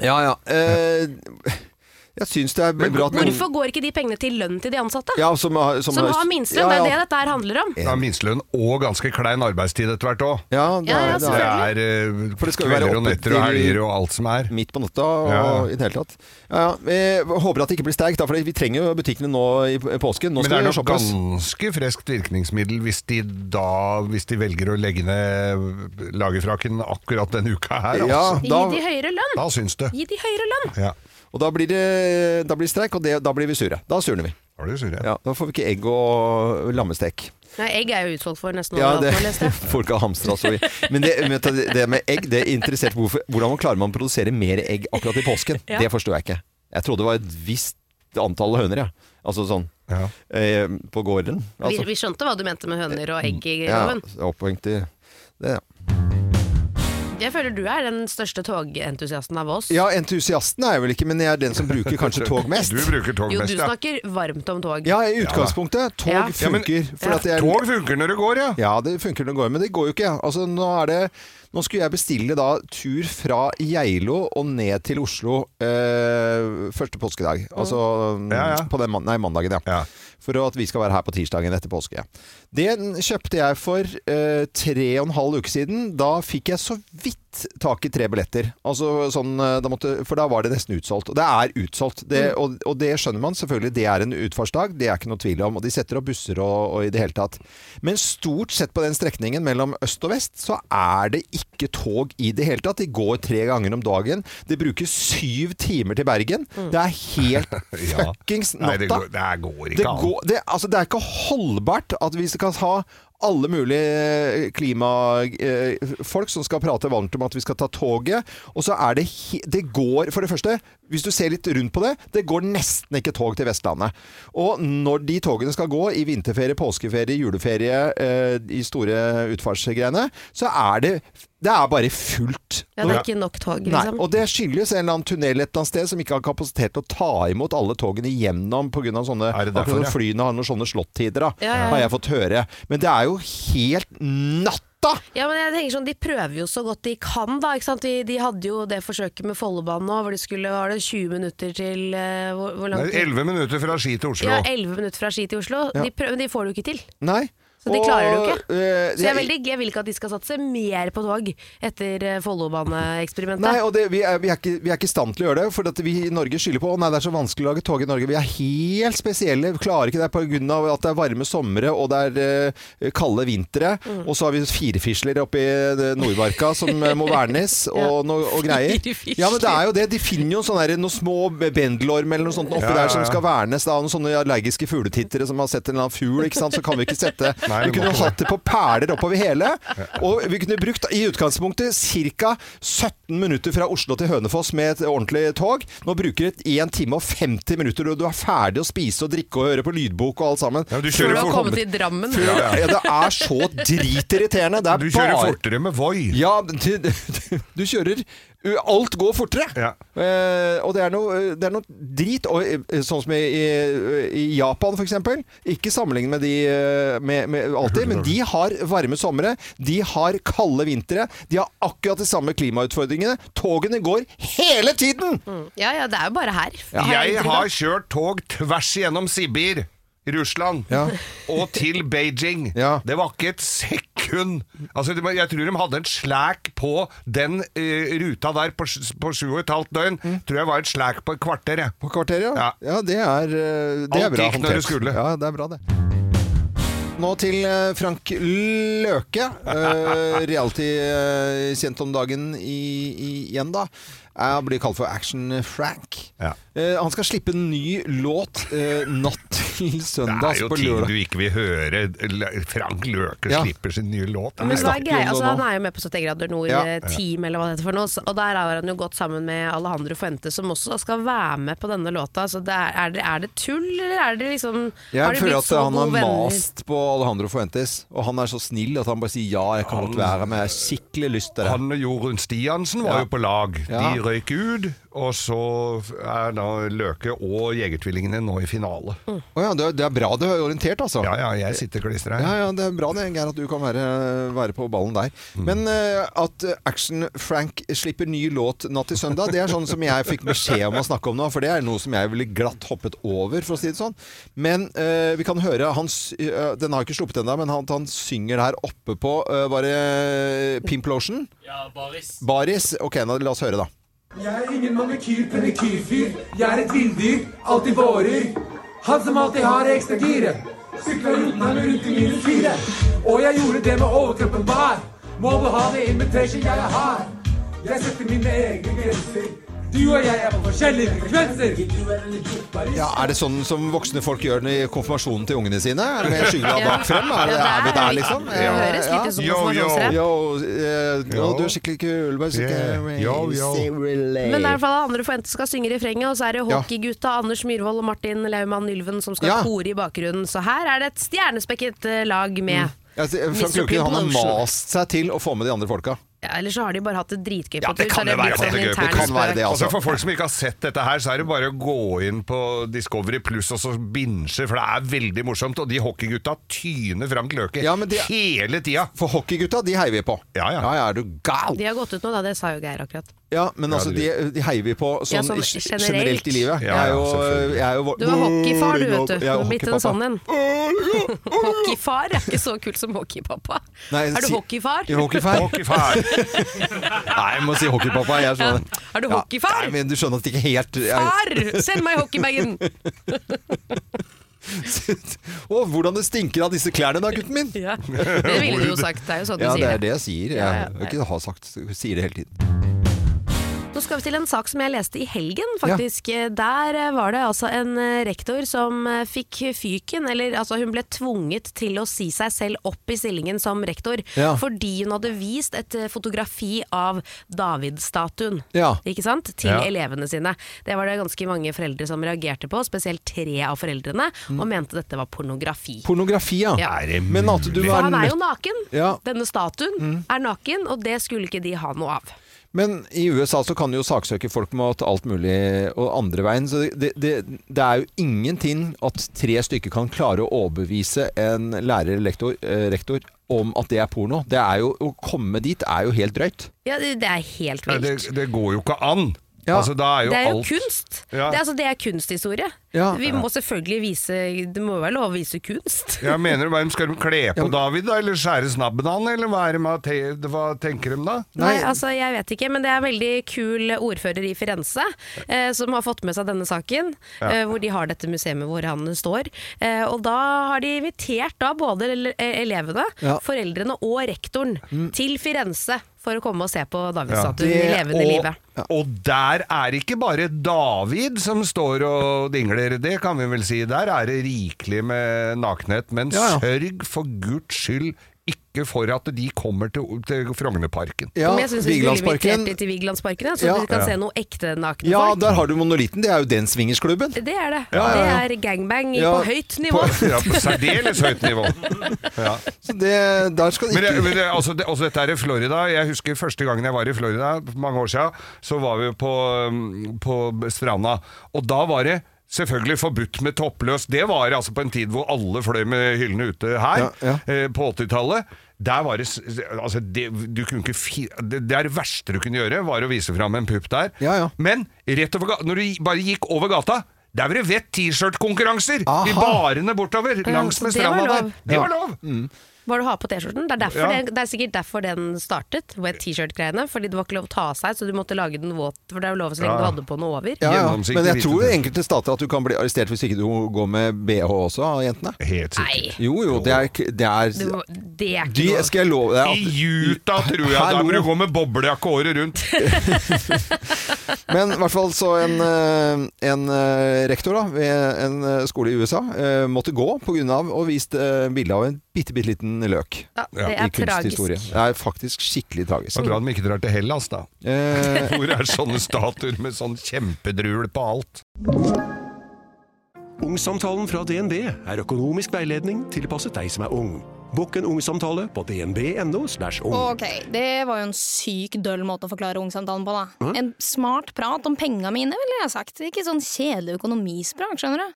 Ja, ja. Eh, jeg syns det er bra at noen-
Hvorfor går ikke de pengene til lønn til de ansatte?
Mm. ja, som, har- som,
Som har minstelønn, det er det dette her handler om.
Det er minstelønn og ganske klein arbeidstid etter hvert òg.
Ja, det
Ja,
er,
ja,
det
Det
er
er
selvfølgelig.
eh,
For det skal jo være
kvelder og
oppe
netter og
til-
helger og alt som er.
midt på natta og
Ja, ja.
i det hele tatt. Ja, ja. Vi håper at det ikke blir sterkt, da, for vi trenger jo butikkene nå i p- påsken.
Men
Nå
det
skal
er
vi
nok
shoppe oss.
ganske freskt virkningsmiddel hvis de da hvis de velger å legge ned lagerfrakken akkurat denne uka her. Altså.
Ja,
Gi
da,
de høyere lønn!
Da syns det.
Gi de høyere lønn!
Ja.
og da blir det da blir det streik, og det, da blir vi sure. Da surner vi.
Har du surret?
Ja, da får vi ikke egg og lammestek.
Nei, egg er jo utsolgt for nesten
Ja,
overalt.
det,
nå, leste jeg.
[LAUGHS] folk har hamstra så vi. Men det, vet du, det med egg, det er interessert på hvorfor, hvordan man klarer man å produsere mer egg akkurat i påsken.
Ja.
Det forstår jeg ikke. Jeg trodde det var et visst antall høner, ja. Altså sånn
Ja.
eh, på gården.
Vi,
Altså, Mm,
vi skjønte hva du mente med høner og egg i
ja,
loven.
opphengt i det, ja.
Jeg føler du er den største togentusiasten av oss.
ja, entusiasten er jeg vel ikke, men jeg er den som bruker [LAUGHS] kanskje tog mest.
Du bruker tog
Jo, du
mest, ja.
snakker varmt om tog.
Ja, i utgangspunktet. Tog
Ja.
Ja, men-
funker. For at jeg,
Tog funker når det går, ja.
Ja, det funker når det går, men det går jo ikke. Altså, nå, er det, nå skulle jeg bestille da tur fra Geilo og ned til Oslo eh, første påskedag. Altså
Ja, ja.
På den man nei, mandagen, ja.
Ja.
For at vi skal være her på tirsdagen etter påske. Den kjøpte jeg for eh, tre og en halv uke siden. Da fikk jeg så vidt tak i tre billetter. Altså, sånn, eh, da måtte, for da var det nesten utsolgt. Og det er utsolgt. Det,
Mm.
og, og det skjønner man selvfølgelig. Det er en utfartsdag, det er ikke noe tvil om. Og de setter opp busser og, og i det hele tatt. Men stort sett på den strekningen mellom øst og vest, så er det ikke tog i det hele tatt. De går tre ganger om dagen. Det bruker syv timer til Bergen. Det er helt
Mm. [LAUGHS] Ja.
fuckings
Nei, det
natta.
går, det går
Det,
ikke an.
går, det, altså, det er ikke holdbart at vi skal ha alle mulige eh, klimafolk som skal prate varmt om at vi skal ta toget. Og så er det he- Det går For det første, hvis du ser litt rundt på det, det går nesten ikke tog til Vestlandet. Og når de togene skal gå i vinterferie, påskeferie, juleferie, eh, de store utfartsgreiene, så er det Det er bare fullt.
Ja, det er ikke nok tog, liksom.
Nei, og det skyldes en eller annen tunnel et eller annet sted som ikke har kapasitet til å ta imot alle togene igjennom pga. sånne
Er det derfor,
akkurat som
ja?
flyene har noen sånne slåttider, da,
Ja, ja, ja.
har jeg fått høre. Men det er jo helt natta!
Ja, men jeg tenker sånn, De prøver jo så godt de kan, da. ikke sant? De, de hadde jo det forsøket med Follobanen nå, hvor de skulle ha det 20 minutter til eh, hvor, hvor langt?
Det er 11 minutter fra Ski til Oslo.
Ja, 11 minutter fra Ski til Oslo. De prøver, men de får det jo ikke til.
Nei.
Så de klarer det jo ikke.
eh,
Så jeg, er veldig, jeg vil ikke at de skal satse mer på tog etter eh, Follobaneeksperimentet.
Nei, og det, vi, er, vi, er ikke, vi er ikke i stand til å gjøre det, for at vi i Norge skylder på Å nei, det er så vanskelig å lage tog i Norge. Vi er helt spesielle. Vi klarer ikke det pga. at det er varme somre og det er eh, kalde vintre. Mm. Og så har vi firefisler oppe i eh, Nordmarka som eh, [LAUGHS] må vernes og, noe- og greier.
Firefisler.
Ja, men det er jo det. De finner jo sånne, der, noen små bendelorm eller noe sånt oppi
Ja, ja,
der som
ja.
skal vernes. Da, og noen sånne allergiske fugletittere som har sett en eller annen fugl, ikke sant. Så kan vi ikke sette
Nei,
Vi
vi må
kunne
ikke
hatt det på perler oppover hele. Og vi kunne brukt i utgangspunktet ca. 17 minutter fra Oslo til Hønefoss med et ordentlig tog. Nå bruker det 1 time og 50 minutter, og du er ferdig å spise og drikke og høre på lydbok og alt sammen.
Ja, men du
Før
kjører
du har
fort-
kommet til Drammen.
Ja, ja, det er så dritirriterende. Det er
Du kjører
bare
fortere med Voi.
ja, du, du kjører Alt går fortere!
Ja.
Eh, og det er, noe, det er noe drit. Og, eh, sånn som i, i- i Japan, f.eks. Ikke sammenlignet med de eh, med, med alltid, men de har varme somre. De har kalde vintre. De har akkurat de samme klimautfordringene. Togene går hele tiden!
Ja, ja, det er jo bare her.
Jeg har kjørt tog tvers igjennom Sibir, Russland,
Ja.
og til Beijing.
Ja.
Det var ikke et sekund Altså, det var- Jeg tror de hadde en slæk på den eh, ruta der på, sj- på sju og et halvt døgn.
Mm.
Tror jeg var et slæk på et kvarter, jeg.
På kvarteret, ja.
Ja.
ja. Det er, eh, det er
Alt
bra
gikk når det skulle.
Ja, det er bra, det. Nå til eh, Frank Løke. eh, Reality eh, kjent om dagen i, i, igjen, da. Jeg blir kalt for Action-Frank.
Ja.
Han skal slippe en ny låt eh, natt til
Det er
søndag.
jo
på
ting
lørdag.
du ikke vil høre. L- Frank Løke
Ja.
slipper sin nye låt. Det er jo-
Men hva er
snakker
greia?
om det
Altså,
nå.
han er jo med på 70 grader nord
Ja.
eh, team, eller hva det heter for noe. så- Og der har han jo gått sammen med Alejandro Fuente, som også skal være med på denne låta. Så det er, er, det, er det tull, eller er det liksom har
Jeg
de
føler at
blitt så
han har
gode venner?
mast på Alejandro Fuentes, og han er så snill at han bare sier ja, jeg kan godt være med. Jeg har skikkelig lyst til det.
Han og Jorunn Stiansen var
Ja.
jo på lag.
Ja.
De røyk ut, og så er da Løke og Jegertvillingene nå i finale.
Å ja, det er- det er bra du er orientert, altså.
Ja, ja, jeg sitter klistra
Ja,
her.
ja, det er bra det, Geir, at du kan være, være på ballen der. Men eh, at Action-Frank slipper ny låt natt til søndag, det er sånn som jeg fikk beskjed om å snakke om nå, for det er noe som jeg ville glatt hoppet over, for å si det sånn. Men eh, vi kan høre, han, s- eh, den har ikke sluppet ennå, men han, han synger der oppe på uh, bare Pimplotion.
Ja, Baris.
Baris. Ok, nå, la oss høre, da.
Jeg er ingen manikyr, pedikyrfyr. Jeg er et villdyr, alltid vårer. Han som alltid har ekstra giret. Sykla Jotunheimen rundt i minus fire. Og jeg gjorde det med overkroppen bar. Må du ha det invitation jeg har? Jeg setter mine egne grenser. Du og jeg er på forskjellige frekvenser.
Ja, Er det sånn som voksne folk gjør det i konfirmasjonen til ungene sine? Er det Med skyggelabb
Ja.
bak frem? Er, det,
Ja,
er vi
der er
der,
vi.
liksom?
Det høres litt ut
Yo,
som
yo.
konfirmasjonsrap.
Yo, eh, å, du er skikkelig kul. Bare
Yeah.
skikkelig
Yo, yo.
Men det er i hvert fall andre forventer skal synge refrenget, og så er det hockeygutta Anders Myhrvold og Martin Laumann Ylven som skal
Ja.
kore i bakgrunnen. Så her er det et stjernespekket eh, lag med.
Ja, så Frank
Mr.
Løken han har
People Ocean.
mast seg til å få med de andre folka.
Ja, Eller så har de bare hatt det dritgøy på
Ja, det
tur, så
kan
har
jo være
blitt
at det er
sånn
gøy på
intern
tur.
Kan være det,
spøk.
altså.
Altså For folk som ikke har sett dette her, så er det bare å gå inn på Discovery Pluss og så binge, for det er veldig morsomt. Og de hockeygutta tyner Frank Løke
Ja, men de-
hele tida.
For hockeygutta, de heier vi på.
Ja, ja.
ja er du gal?
De har gått ut nå, da. Det sa jo Geir akkurat.
Ja, men altså, de, de heier vi på sånn,
Ja, sånn
i- generelt.
generelt
i livet.
Ja,
jeg
ja,
er jo,
selvfølgelig.
jeg er jo,
Du er hockeyfar, du, vet du.
Jeg
Du
er
har blitt en
hockeypappa.
sånn en. [LAUGHS] Hockeyfar er ikke så kult som hockeypappa.
Nei,
Er du
si-
hockeyfar?
Ja, Hockeyfar?
Hockeyfar. [LAUGHS]
Nei, jeg må si hockeypappa. Jeg
Ja.
skjønner.
Er du
Ja.
hockeyfar?
Nei, men du skjønner at det ikke helt jeg,
Far! Send meg hockeybagen!
[LAUGHS] Å, hvordan det stinker av disse klærne da, gutten min!
Ja. Det ville du jo sagt. Det er jo sånn du
Ja, det
sier
er det jeg sier. Jeg
Ja, ja,
har ikke har sagt, sier det hele tiden.
Nå skal vi til en sak som jeg leste i helgen, faktisk. Der eh, var det altså en eh, rektor som eh, fikk fyken, eller altså hun ble tvunget til å si seg selv opp i stillingen som rektor,
Ja.
fordi hun hadde vist et eh, fotografi av David-statuen.
Ja.
Ikke sant? Til
Ja.
elevene sine. Det var det ganske mange foreldre som reagerte på, spesielt tre av foreldrene,
Mm.
og mente dette var pornografi.
Pornografi, ja.
Ja.
Er det
Men at du
mulig?
er
Han er jo
nødt
naken!
Ja.
Denne statuen
Mm.
er naken, og det skulle ikke de ha noe av.
Men i USA så kan du jo saksøke folk mot alt mulig og andre veien. Så det, det, det er jo ingenting at tre stykker kan klare å overbevise en lærer eller lektor, eh, rektor om at det er porno. Det er jo, å komme dit er jo helt drøyt.
Ja, det det er helt
Nei,
vilt.
det, det går jo ikke an.
Ja.
Altså, da er jo,
Det er jo
alt
kunst.
Ja.
Det, er, altså, det er kunsthistorie.
Ja.
Vi må selvfølgelig vise Det må jo være lov å vise kunst.
ja, mener du bare Skal de kle på David, da? Eller skjære snabben av han? Eller hva, er det med, at te- hva tenker de da?
Nei.
Nei, altså jeg vet ikke, men det er en veldig kul ordfører i Firenze eh, som har fått med seg denne saken, eh, hvor de har dette museet hvor han står. Eh, og da har de invitert da både ele- elevene,
Ja. Mm.
foreldrene og rektoren til Firenze for å komme og se på
Ja.
Davidsstatuen i
Det-
levende
og,
livet.
og der er det ikke bare David som står og dingler, det kan vi vel si. Der er det rikelig med nakenhet. Men
Ja, ja.
sørg for guds skyld ikke for at de kommer til, til Frognerparken.
Ja,
men jeg syns vi skulle invitert dem til Vigelandsparken, ja, så
Ja.
de kan
Ja.
se noe ekte nakne
Ja,
folk.
der har du monolitten. Det er jo den swingersklubben.
Det er det.
ja, ja.
Det er gangbang i-
Ja,
på høyt nivå.
på-
Ja, på særdeles høyt nivå. Ja.
Så det, der skal det
Men, det,
ikke
men det, altså, det, altså, dette er i Florida. Jeg husker første gangen jeg var i Florida, for mange år siden, så var vi på, um, på stranda. Og da var det selvfølgelig forbudt med toppløs. Det var altså på en tid hvor alle fløy med hyllene ute her,
Ja,
Eh, på 80-tallet. Der var det, s- altså det, du kunne ikke fi, det, det er det verste du kunne gjøre, var å vise fram en pupp der.
Ja, ja.
Men rett over, ga- når du bare gikk over gata, der var det vett T-skjørt-konkurranser!
Aha.
I barene bortover, langs
så
med
det var
stranda der.
lov.
Det
Ja. Mm.
var lov!
Bare du har på T-skjorten. Det, er derfor
Ja.
det, det er sikkert derfor den startet, wet T-shirt-greiene. Fordi det var ikke lov å ta av seg, så du måtte lage den våt. For det er jo lov så lenge
Ja.
du hadde på noe over.
ja, ja.
Gjennomsiktig
Men jeg tror
hvite.
i enkelte stater at du kan bli arrestert hvis ikke du går med BH også, av jentene.
Helt sikkert.
Nei,
Jo, jo, det er, k- det er
du må, det er
de,
ikke noe.
Skal jeg love deg at-
I Utah,
[LAUGHS]
tror jeg.
Hallo.
Da må du gå med boblejakke året rundt.
Men i hvert fall så en, eh, en eh, rektor da, ved en eh, skole i USA eh, måtte gå pga. å vise eh, bilde av en bitte, bitte liten løk.
Ja, det
I
er tragisk.
kunsthistorie. Det er faktisk skikkelig
Det
tragisk.
er bra de ikke drar til Hellas, da.
Eh,
Hvor er sånne statuer med sånn kjempedrul på alt?
Ungsamtalen fra DNB er økonomisk veiledning tilpasset deg som er ung. Bokk en ungsamtale på dnb.no. slash ung.
Ok, det var jo en syk døll måte å forklare ungsamtalen på, da. En smart prat om penga mine, ville jeg sagt. Ikke sånn kjedelig økonomisprat, skjønner du.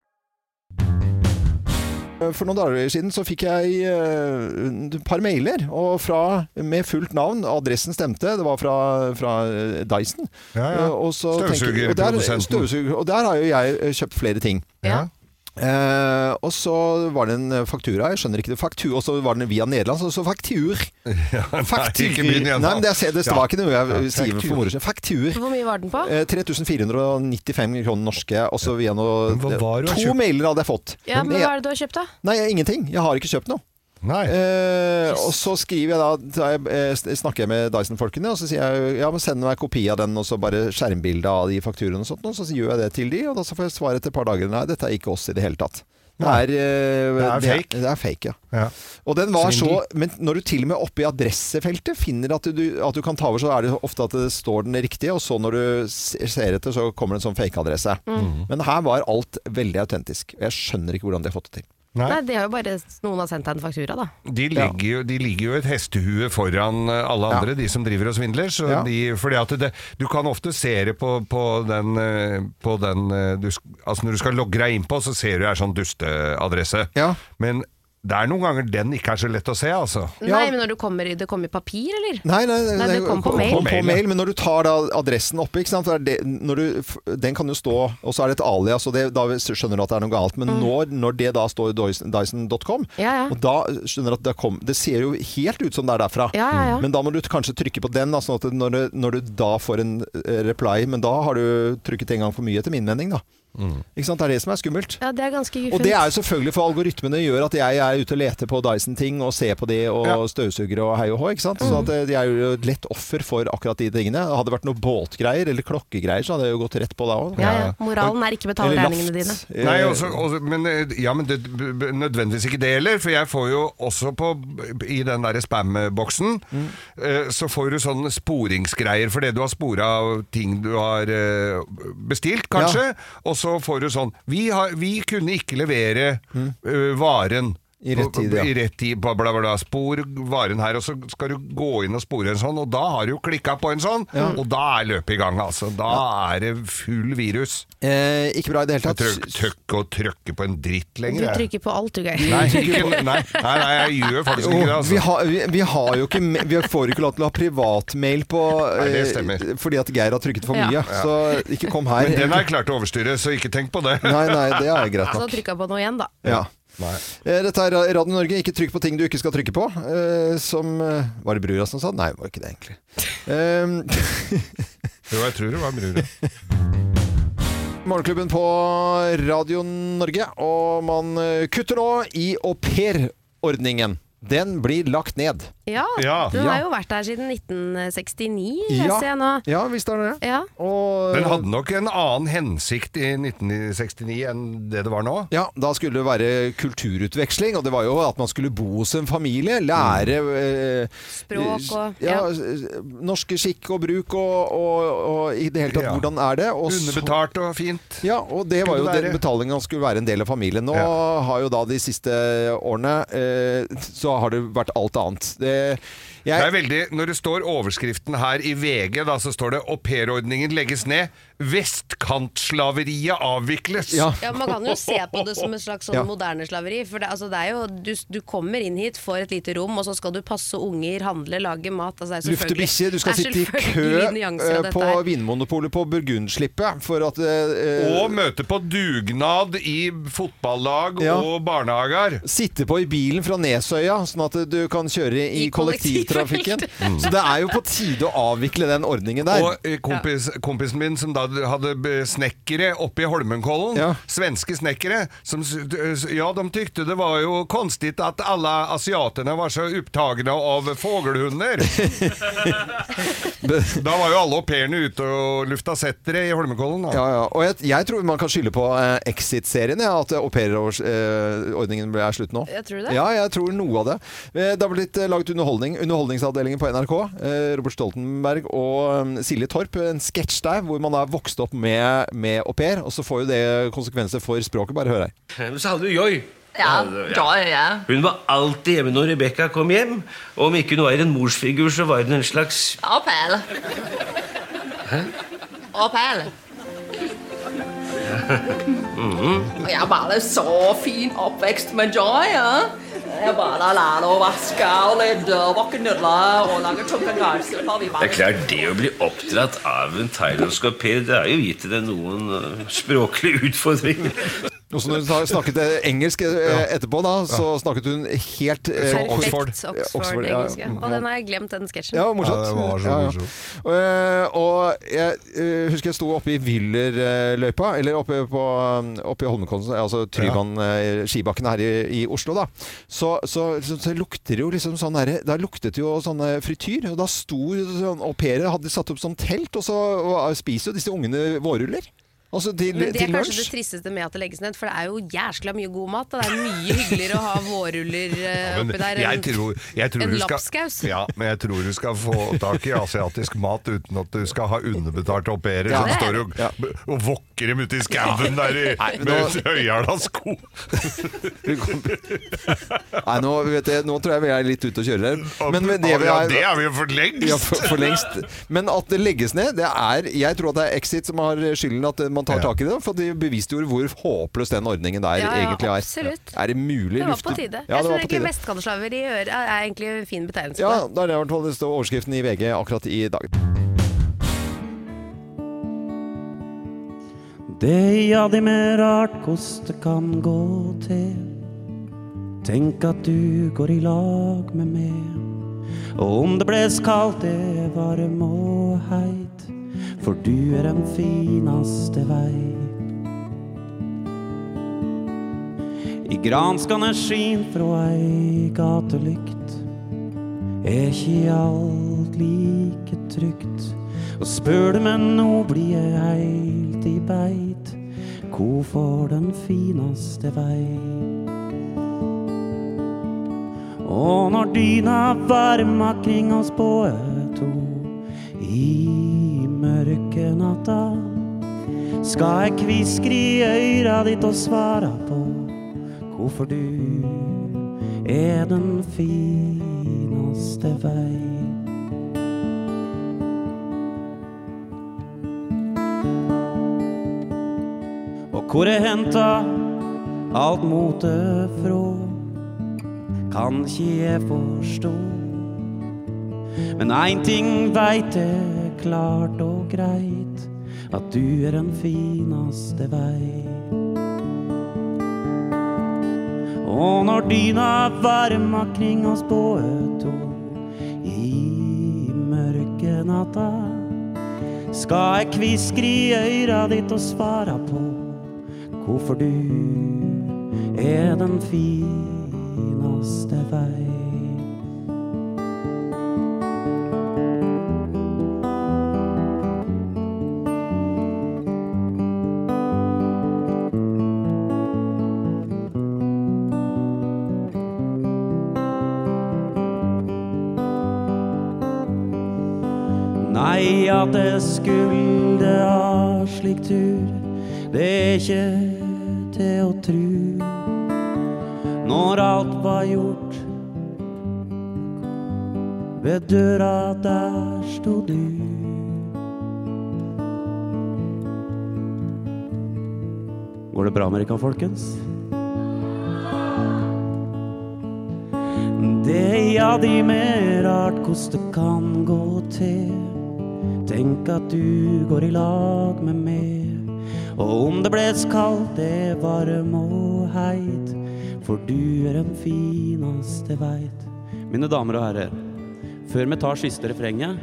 Eh, for noen dager siden så fikk jeg eh, et par mailer og fra, med fullt navn. Adressen stemte, det var fra, fra eh, Dyson.
Ja, ja.
Eh, og så tenker- og der-
Støvsugerprodusenten.
Støvsuger. Og der har jo jeg eh, kjøpt flere ting.
Ja.
Eh, og så var det en eh, faktura, jeg skjønner ikke det, faktur, og så var den via Nederland, så, så faktur.
nei, ikke begynn igjen da.
Nei, men det, er- det var ikke noe jeg
Ja,
sier for moro skyld. Faktur.
Hvor mye var den på?
Eh, 3495 kroner norske, og så via noe
Men hva var det du har
To
kjøpt?
mailer hadde jeg fått.
Ja, men
Men
Hva
jeg,
er det du har kjøpt, da?
nei, jeg- ingenting. Jeg har ikke kjøpt noe.
Nei.
Eh, og så skriver jeg da så jeg, eh, sn- snakker jeg med Dyson-folkene, og så sier jeg ja, men send meg kopi av den, og så bare skjermbilde av de fakturene og sånt, og så gjør jeg det til de, og da så får jeg svar etter et par dager. Nei, dette er ikke oss i det hele tatt. Det er, eh,
Det er fake.
Det, er fake, ja.
Ja.
Og den var så, men når du til og med oppe i adressefeltet finner at du, at du kan ta over, så er det ofte at det står den riktige, og så når du se- ser etter, så kommer det en sånn fake-adresse.
Mm.
Men her var alt veldig autentisk. og Jeg skjønner ikke hvordan de har fått det til.
Nei.
Nei, det har jo bare noen har sendt deg en faktura, da.
De ligger, jo, de ligger jo et hestehue foran eh, alle andre, de som driver og svindler. Så
Ja.
de, fordi at det, du kan ofte se det på, på den, eh, på den eh, du, sk- Altså når du skal logge deg innpå, så ser du det er sånn dusteadresse.
Ja.
Men det er noen ganger den ikke er så lett å se, altså.
Ja.
Nei, men når du kommer, i- det kommer i papir, eller?
Nei, nei,
Nei, det kom på mail.
På mail,
men når du tar da adressen oppe, ikke sant? så er Det, når du, f- den kan jo stå, og så er det et alias, og det, da skjønner du at det er noe galt. Men når, når det da står i Dyson- Dyson.com,
Mm. Ja, ja.
og da skjønner du at det, kom, det ser jo helt ut som det er derfra.
Ja, ja, ja.
Men da må du kanskje trykke på den, da, sånn at når du, når du da får en eh, reply, men da har du trykket en gang for mye, etter min mening, da. Ikke sant? Det er det som er skummelt.
Ja, det er ganske
Og det er jo
guffent.
selvfølgelig for algoritmene gjør at jeg er ute og leter på Dyson-ting og ser på de og
Ja.
støvsugere og hei og hå. ikke sant?
Mm.
Så at eh, de er jo et lett offer for akkurat de tingene. Hadde det vært noe båtgreier eller klokkegreier, så hadde jeg jo gått rett på da òg.
Ja, ja. Moralen er ikke betal regningene dine.
Nei,
Eh,
også, også, men, eh, ja, men det, b- b- nødvendigvis ikke det heller, for jeg får jo også på, i den der spam-boksen, eh, så får du sånne sporingsgreier for det du har spora av ting du har eh, bestilt, kanskje, og så får du sånn, vi, har, vi kunne ikke levere eh, varen.
Mm. I rett tid, ja.
I rett tid, bla, bla, bla. Spor varen her, og så skal du gå inn og spore en sånn, og da har du jo klikka på en sånn, og da er løpet i gang, altså. Da er det full virus.
Eh, ikke bra i det hele
Jeg
tatt.
tør ikke tøkke og trøkke på en dritt
Du
lenger. jeg.
trykker på alt, du, Geir.
Nei, ikke, nei, nei, nei, jeg gjør faktisk ikke det.
Jo, vi,
Altså.
har, vi, vi har jo ikke me- Vi får jo ikke lov til å ha privatmail på
[LAUGHS] Nei, det
eh,
stemmer.
Fordi at Geir har trykket for mye.
Ja.
Så ikke kom her.
Men den har jeg klart å overstyre, så ikke tenk på det.
Nei, nei, det er greit
Så
nok.
trykka jeg på noe igjen, da.
Ja.
Nei.
Eh, Dette er Radio Norge. Ikke trykk på ting du ikke skal trykke på. Eh, som eh, Var det brura som sa? Nei, det var ikke det, egentlig. Eh,
Jo, jeg tror det var brura.
Morgenklubben på Radio Norge, og man eh, kutter nå i aupairordningen. Den blir lagt ned.
Ja,
Ja.
du
Ja.
har jo vært der siden 1969,
Ja.
leser jeg nå.
Ja visst er det det.
Ja.
Og eh,
Den hadde nok en annen hensikt i 1969 enn det det var nå.
ja, da skulle det være kulturutveksling, og det var jo at man skulle bo hos en familie, lære eh,
Språk og
ja,
ja.
eh, Norske skikk og bruk og, og, og i det hele tatt,
Ja.
hvordan er det? Og så-
Underbetalt og fint.
Ja, og det var
Skulle
jo
være-
den betalingen skulle være en del av familien. Nå
Ja.
har jo da de siste årene eh, så har det vært alt annet. Det,
Det er
jeg,
veldig, Når det står overskriften her i VG, da, så står det 'aupairordningen legges ned'. 'Vestkantslaveriet avvikles'.
ja.
Ja, Man kan jo se på
[LAUGHS]
det som et slags sånn
Ja.
moderne slaveri. For det, altså, det er jo, du, du kommer inn hit, får et lite rom, og så skal du passe unger, handle, lage mat. Altså, det er
Lufte
selvfølgelig-
bikkjer. Du skal
det er
sitte i kø
selvfølgelig nyanser av
eh,
dette
på
her.
Vinmonopolet på Burgundslippet for at eh,
Og møte på dugnad i fotballag
Ja.
og barnehager.
Sitte på i bilen fra Nesøya, sånn at du kan kjøre i,
I
kollektivtrafikken. Så det er jo på tide å avvikle den ordningen der.
Og eh, kompis, kompisen min som da hadde eh, snekkere oppe i Holmenkollen,
Ja.
svenske snekkere, som s- d- s- ja, de tykte det var jo konstigt at alle asiatene var så opptagna av
[LAUGHS]
fågelhunder. da var jo alle au pairene ute og lufta settere i Holmenkollen. Da.
Ja, ja. Og jeg, jeg tror man kan skylde på eh, Exit-serien, ja, at eh, aupairordningen eh, ble er slutt nå.
Jeg tror det.
Ja, jeg tror noe av det. Eh, Det har blitt eh, laget underholdning. Underholdningsavdelingen på NRK. eh, Robert Stoltenberg og eh, Silje Torp. En sketsj der hvor man er vokst opp med, med au pair, og så får jo det konsekvenser for språket. Bare hør her.
Men så hadde du Joy.
Ja, ja, ja.
Hun var alltid hjemme når Rebekka kom hjem. Og om ikke hun var en morsfigur, så var hun en slags
Opel. Opel. Og jeg bare [LAUGHS] så fin oppvekst med Joy. Ja. Jeg bare lærte å vaske og lede og vakke nudler og lage tunge garser. for vi bare-
Det er klart, det å bli oppdratt av en thailandsk au pair, det er jo gitt deg noen øh, språklige eh, utfordringer.
Og så når hun sa- snakket eh, engelsk eh, etterpå, da, så snakket hun helt eh,
Så Oxford.
Perfekt Oxford
ja.
engelsk. Ja. Og den har jeg glemt, den sketsjen.
Ja, morsomt.
Ja, det var så
Ja, ja.
morsomt.
Eh, og jeg eh, husker jeg sto oppe i Willerløypa, eller oppe, på, eh, oppe i Holmenkollen, altså Tryvann, eh, skibakken her i, i Oslo, da. Så, så, så, så lukter det jo liksom sånn derre Da luktet det jo sånn eh, frityr, og da sto sånn au pairer hadde satt opp sånn telt, og så og eh, spiser jo disse ungene vårruller. Altså til,
Men det er
til
kanskje det
lunsj.
tristeste med at det legges ned, for det er jo jæskla mye god mat. Og det er mye hyggeligere å ha vårruller eh,
Men
oppi der.
jeg tror, jeg tror du
en
skal,
lapskaus.
Ja, men jeg tror du skal få tak i asiatisk mat uten at du skal ha underbetalte au pairer
Ja.
som står og,
Ja.
og vokker dem ute i skauen der i, med høyhæla sko.
[LAUGHS] Nei, nå, vet jeg, nå tror jeg vi er litt ute å kjøre her. Men med
Å,
det vi
ja,
er
det er vi jo for
Ja,
lengst!
for, for lengst. Men at det legges ned, det er Jeg tror at det er Exit som har skylden at eh, man tar
Ja.
tak i det. For de beviste jo hvor håpløs den ordningen der
Ja, ja,
egentlig er.
absolutt.
Er det mulig
Det var på
lufte-
tide.
Ja,
jeg
det
tror
var på
egentlig
tide.
vestkantsslaver i øret er egentlig en fin betegnelse
Ja,
på det.
da er det i hvert fall det står overskriften i VG akkurat i dag.
Det ja, det med rart kost det kan gå til. Tenk at du går i lag med meg. Og om det bles kaldt, det varm og heit. For du er den finaste vei. I granskane skin fra ei gatelykt. Er ikke alt like trygt? Og spør du meg nå, blir jeg heilt i beit. Hvorfor den finaste vei? Og når dyna varma kring oss båe to i mørke natta, skal jeg kviskre i øyra ditt og svara på hvorfor du er den fineste vei. Og hvor jeg henta alt motet fra, kan ikke jeg forstå. Men én ting veit jeg klart og greit, at du er den fineste vei. Og når dyna varma kring oss båe to i mørke natta, skal jeg kviskre i øyra ditt og svara på hvorfor du er den fineste vei. Nei, at jeg skulle ha slik tur, det er ikke til å tru. Når alt var gjort, ved døra der sto du. Går det bra med dere, folkens? Det ja, de med rart hvordan det kan gå til. Tenk at du går i lag med meg. Og om det bles kaldt, det er varm og heit. For du er den fineste veit. Mine damer og herrer, før vi tar siste refrenget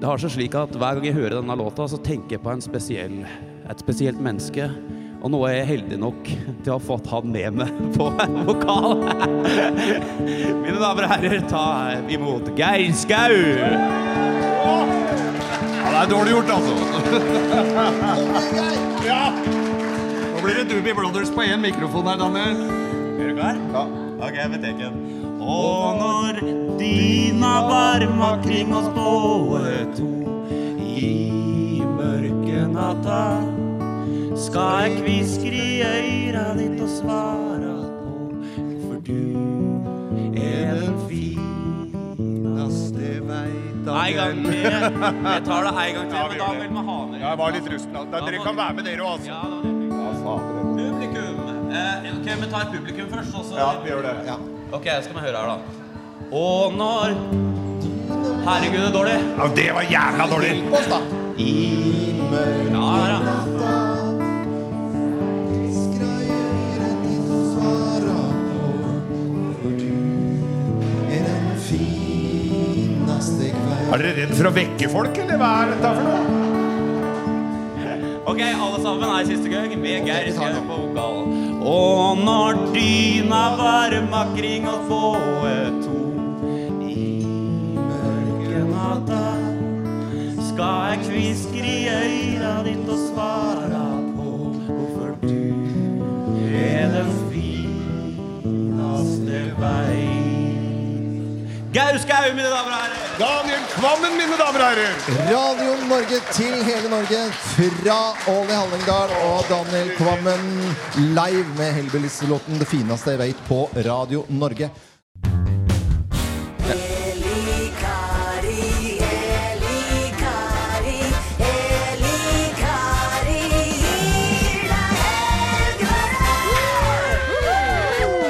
Det har seg slik at hver gang jeg hører denne låta, så tenker jeg på en spesiell, et spesielt menneske. Og nå er jeg heldig nok til å ha fått han med meg på vokal. Mine damer og herrer, ta imot Geir Skau!
Ja, det er dårlig gjort,
[LAUGHS]
altså. ja. Nå blir det Doobie Brothers på én mikrofon her, Daniel.
Er du klar? Ja. Ok, jeg vet ikke. Og når dyna varma kring oss båe to i mørke natta, skal jeg kviskre i øyra ditt og svara på, for du er den fineste vei. En gang til. Jeg tar det en gang til, men da vil vi ha med
Jeg var litt rusten. altså. Dere kan være med, dere òg, altså.
Ja, da vil vi. Publikum. Eh, ok, vi tar publikum først, og så
Ja, vi gjør det. Ja.
Ok, skal vi høre her, da. Og når Herregud, det er dårlig.
Ja, det var jævla dårlig!
I mørke natta
Er dere redd for å vekke folk, eller hva er dette for noe?
Ok, alle sammen er siste gang med Geir Skau på vokal. Og når dyna varma kring oss få to i mørke natta, skal jeg kviskre i øyra ditt og svara på hvorfor du er den finaste vei. Geir Skau, mine damer og herrer!
Daniel Kvammen, mine damer og herrer!
Radio Norge til hele Norge fra Ål i Hallingdal og Daniel Kvammen live med Hellbillies-låten 'Det fineste jeg veit' på Radio Norge.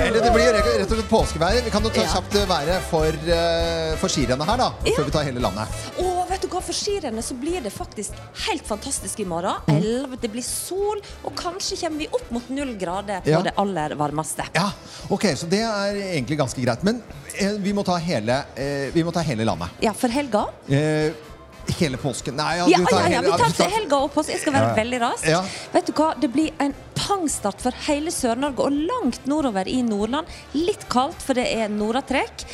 Eller det blir rett rett og slett påskevær. Vi kan jo ta kjapt været for, eh, for skirennet her, da. Før vi tar hele landet.
Og vet du hva, for skirennet så blir det faktisk helt fantastisk i morgen. Elv, det blir sol, og kanskje kommer vi opp mot null grader på
Ja.
det aller varmeste.
Ja, ok, så det er egentlig ganske greit. Men eh, vi, må ta hele, eh, vi må ta hele landet.
Ja, for helga?
Eh, hele påsken. Nei,
Ja, ja, ja, vi
ja,
tar
du
til helga og påske. Jeg skal være veldig rask.
Ja.
Vet du hva, det blir en pangstart for hele Sør-Norge og langt nordover i Nordland. Litt kaldt, for det er nordatrekk.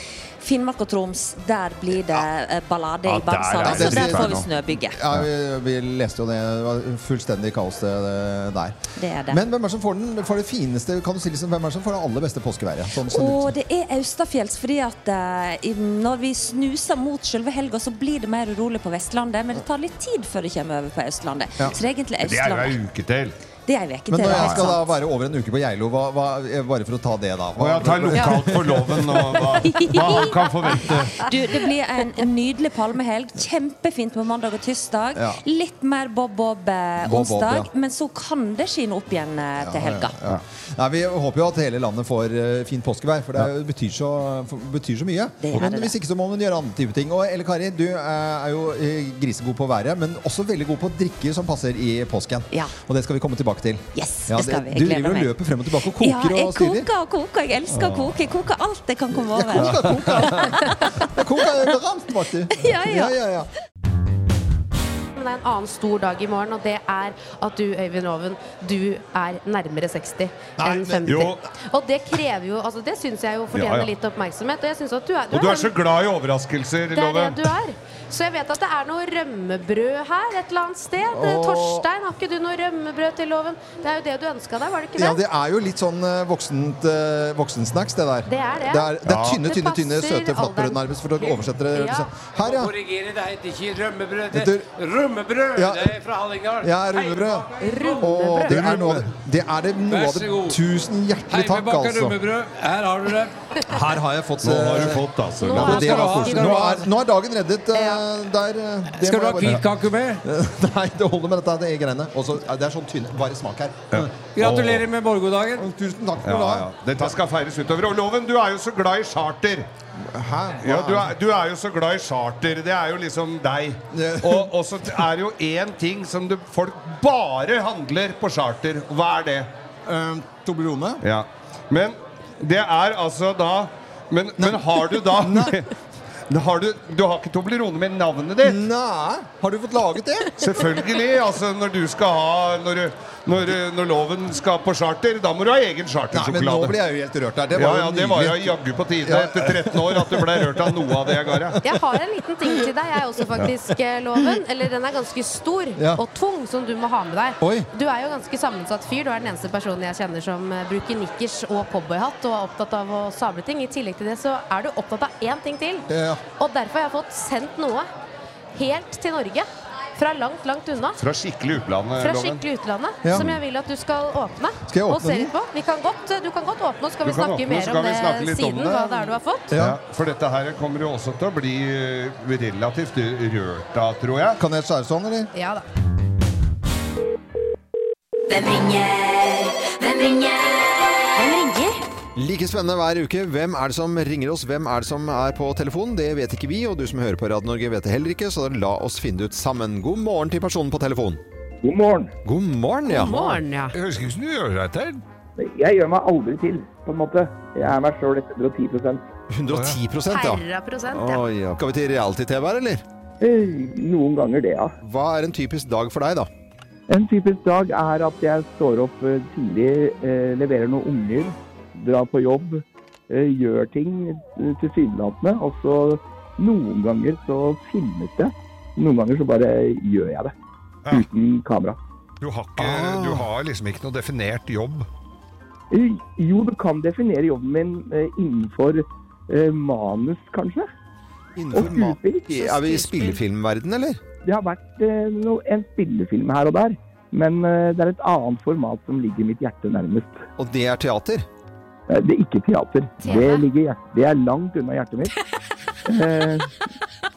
Finnmark og Troms, der blir det eh, ballade
Ja,
i altså,
der
Bangsalen.
sånn,
er sånn.
Så
det
der
dritt
får
vær
vi
nå.
snøbygge.
Ja, vi, vi leste jo det. Det var fullstendig kaos det, det der.
Det er det.
Men hvem er det som får den får det fineste Kan du si liksom, hvem er det som får det aller beste påskeværet? Sånn, sånn,
Og det er Austafjells, fordi at eh, i- når vi snuser mot selve helga, så blir det mer urolig på Vestlandet. Men det tar litt tid før det kommer over på Østlandet.
Ja.
Så det er egentlig
Det er jo
Østlandet.
ei uke til.
Det er ei uke til. altså.
Men når
ja,
jeg skal da
sant.
være over en uke på Geilo, hva, hva, eh, bare for å ta det, da
Og
hva,
jeg tar lokalt for loven og hva, hva han kan forvente. [LAUGHS]
Du, det blir en nydelig palmehelg. Kjempefint på mandag og tirsdag.
Ja.
Litt mer bob-bob eh,
Bob-bob,
onsdag,
ja.
men så kan det skinne opp igjen eh, til helga.
Ja. Nei, Vi håper jo at hele landet får eh, fint påskevær, for det er jo- betyr, så, for, betyr så mye.
Det er
men
det.
hvis ikke så må man gjøre andre type ting. Og Elle Kari, du eh, er jo eh, grisegod på været, men også veldig god på drikker som passer i påsken.
Ja.
Og det skal vi komme tilbake til.
Yes, det skal vi. Jeg
Du
gleder
driver og
meg.
løper frem og tilbake og
Ja,
koker
jeg
og styrer.
koker og koker. Jeg elsker å koke. Jeg koker alt jeg kan komme over.
Koker, koker. Jeg koker overalt, vet du.
[LAUGHS] Ja, ja.
ja, ja.
Men det er en annen stor dag i morgen, og det er at du, Øyvind Loven, du er nærmere 60 enn
men-
50.
Jo.
Og det krever jo altså Det syns jeg jo fortjener
Ja, ja.
litt oppmerksomhet. Og jeg synes at du er,
Og du er
den-
så glad i overraskelser,
det er det
Loven.
du er. Så jeg vet at det er noe rømmebrød her et eller annet sted.
Åh.
Torstein, har ikke du noe rømmebrød til loven? Det er jo det du ønska deg, var det ikke det?
Ja, det er jo litt sånn eh, voksent, eh, voksensnacks, det der.
Det er det.
Det er, det er
Ja.
tynne,
Det
tynne, tynne,
passer
søte flatbrød
alderen.
nærmest, for å oversette det.
Ja.
Her, ja.
Korrigere, det heter ikke rømmebrød,
det Vet
rømmebrød!
Ja. det
er fra Hallingdal.
Ja, rullebrød. Og det er noe av det, det, er det, noe
Vær
av
så
det
god.
Tusen hjertelig takk, altså.
Her har du det.
Her har jeg fått
Nå har
eh,
du fått, altså.
Nå
ja,
Loven.
det
Skal du
var
ha?
koselig.
Skal du
Nå
ha?
er, nå er dagen reddet eh, der. eh, det må jeg bare-
kake med?
[LAUGHS] Nei, det holder med dette det er greiene. Også, eh, det er sånn tynn Bare smak her.
Gratulerer med morgendagen.
Å, Tusen takk
Ja,
for
ja.
det.
Dette skal feires utover. Og Loven, du er jo så glad i charter.
Hæ?
Ja, du er, du er jo så glad i charter. Det er jo liksom deg.
Ja.
[LAUGHS] Og, og så er det jo én ting som du, folk bare handler på charter. Hva er det? Ehm,
Eh, Toblerone?
Ja. Men det er altså da Men, men har du
[LAUGHS]
da [LAUGHS] har du, du har ikke Toblerone med navnet ditt?
Mm. Nei, har du fått laget det?
Selvfølgelig. altså Når du skal ha Når, du- når, du- når loven skal på charter, da må du ha egen
Nei, men nå blir
chartersjokolade.
jeg jo helt rørt der. Det
Ja,
var
ja,
jo
det var jo
nydelig.
jaggu på tide
Ja.
etter 13 år at du ble rørt av noe av det jeg ga deg.
Jeg har en liten ting til deg, jeg også, faktisk, eh, Loven. Eller den er ganske stor
Ja.
og tung, som du må ha med deg.
Oi.
Du er jo ganske sammensatt fyr. Du er den eneste personen jeg kjenner som eh, bruker nikkers og cowboyhatt og er opptatt av å sable ting. I tillegg til det så er du opptatt av én ting til.
Ja.
Og derfor har jeg fått sendt noe helt til Norge. Fra langt, langt unna.
Fra skikkelig utlandet,
Fra
Loven.
skikkelig utlandet,
Ja.
som jeg vil at du skal åpne.
Skal jeg åpne
og se
den?
litt på. Vi kan godt, du kan godt åpne, og så skal
Du
vi
kan
snakke
åpne, så
mer
kan
om
vi
det
snakke litt om
siden.
det.
Hva det er du har fått.
Ja.
Ja, for dette her kommer jo også til å bli eh, relativt rørt av, tror jeg.
Kan jeg skjære sånn, eller?
Ja da.
Hvem ringer? Hvem ringer? Hvem ringer?
Like spennende hver uke. Hvem er det som ringer oss? Hvem er det som er på telefonen? Det vet ikke vi, og du som hører på Radio Norge vet det heller ikke, så la oss finne det ut sammen. God morgen til personen på telefonen.
God morgen.
God morgen, ja.
Morgen, ja.
Jeg husker ikke hvordan du gjør deg til.
Jeg gjør meg aldri til, på en måte. Jeg er meg sjøl 110
110 ja.
Herra prosent, ja.
Oi, ja. Skal vi til reality-TV her, eller?
Eh, Noen ganger det, ja.
Hva er en typisk dag for deg, da?
En typisk dag er at jeg står opp eh, tidlig, eh, leverer noen unger, drar på jobb, eh, gjør ting eh, tilsynelatende, og så noen ganger så filmes det. Noen ganger så bare gjør jeg det. Uten kamera.
Du har, ikke,
Ah.
du har liksom ikke noe definert jobb.
Eh, Jo, du kan definere jobben min eh, innenfor eh, manus, kanskje.
Innenfor
og skuespill.
Er vi i spillefilmverden, eller?
Det har vært eh, no, en spillefilm her og der, men eh, det er et annet format som ligger mitt hjerte nærmest.
Og det er teater?
Det er ikke teater.
TV?
Det, ligger, hjert- det er langt unna hjertet mitt. Eh,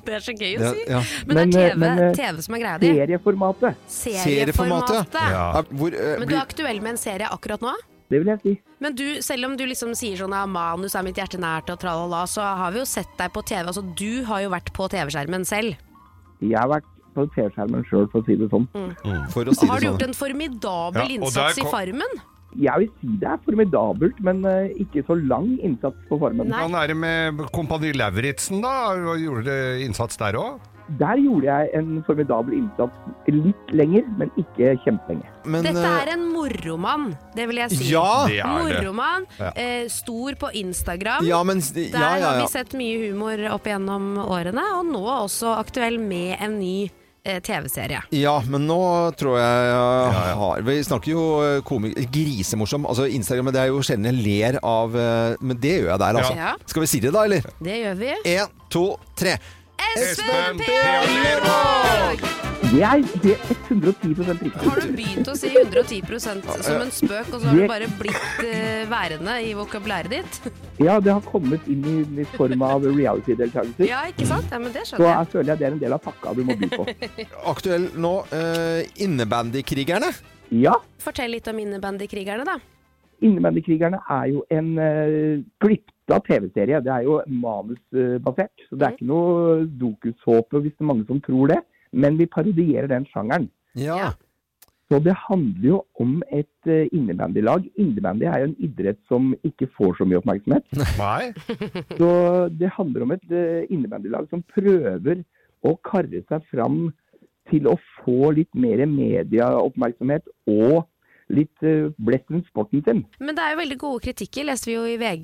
Det er så gøy å
Det-
si.
ja.
Men,
Men,
det
eh,
er TV,
men, eh,
TV som er greia di.
serieformatet.
Serieformatet.
Ja. Hvor, eh,
Men du
blir-
er aktuell med en serie akkurat nå?
Det vil jeg si.
Men du, selv om du liksom sier sånn at manus er mitt hjerte nært og tralala, så har vi jo sett deg på TV. Altså, du har jo vært på TV-skjermen selv.
Jeg har vært på TV-skjermen sjøl, for å si det sånn.
For
Og har du gjort en formidabel
Ja, og
innsats
der
i
kom-
Farmen?
Jeg vil si det er formidabelt, men eh, ikke så lang innsats på formen.
Hvordan er det med Kompani Lauritzen, da? Gjorde du innsats der òg?
Der gjorde jeg en formidabel innsats litt lenger, men ikke kjempelenge.
Dette er en moromann, det vil jeg si.
eh, Ja,
Ah.
det er det.
moromann,
Ja.
eh, stor på Instagram.
Ja, men s- ja,
Der
ja,
har
ja.
vi sett mye humor opp gjennom årene, og nå også aktuell med en ny eh, TV-serie.
Ja, men nå tror jeg jeg har Vi snakker jo eh, komik... Grisemorsom. Altså Instagram det er jo sjelden jeg ler av eh, Men det gjør jeg der, altså.
Ja.
Skal vi si det, da, eller?
Det gjør vi.
Én, to, tre.
Espen P.
Det er, det er 110 riktig.
Har du begynt å si 110 som en spøk, og så har du bare blitt eh, værende i vokabulæret ditt?
Ja, det har kommet inn i, i form av reality-deltakelser.
[LAUGHS] Ja, ikke sant? Ja, men det
Så jeg
skjønner
føler jeg det er en del av pakka du må by på.
jeg.
Aktuell nå. eh, Innebandykrigerne.
Ja.
Fortell litt om innebandykrigerne, da.
Innebandykrigerne er jo en uh, glipta TV-serie. Det er jo manusbasert. Så det er ikke noe dokusåpe hvis det er mange som tror det. Men vi parodierer den sjangeren.
Ja.
Så det handler jo om et eh, innebandylag. Innebandy er jo en idrett som ikke får så mye oppmerksomhet.
Nei.
Så det handler om et eh, innebandylag som prøver å karre seg fram til å få litt mer medieoppmerksomhet og litt eh, blest rundt sporten sin.
Men det er jo veldig gode kritikker, leste vi jo i VG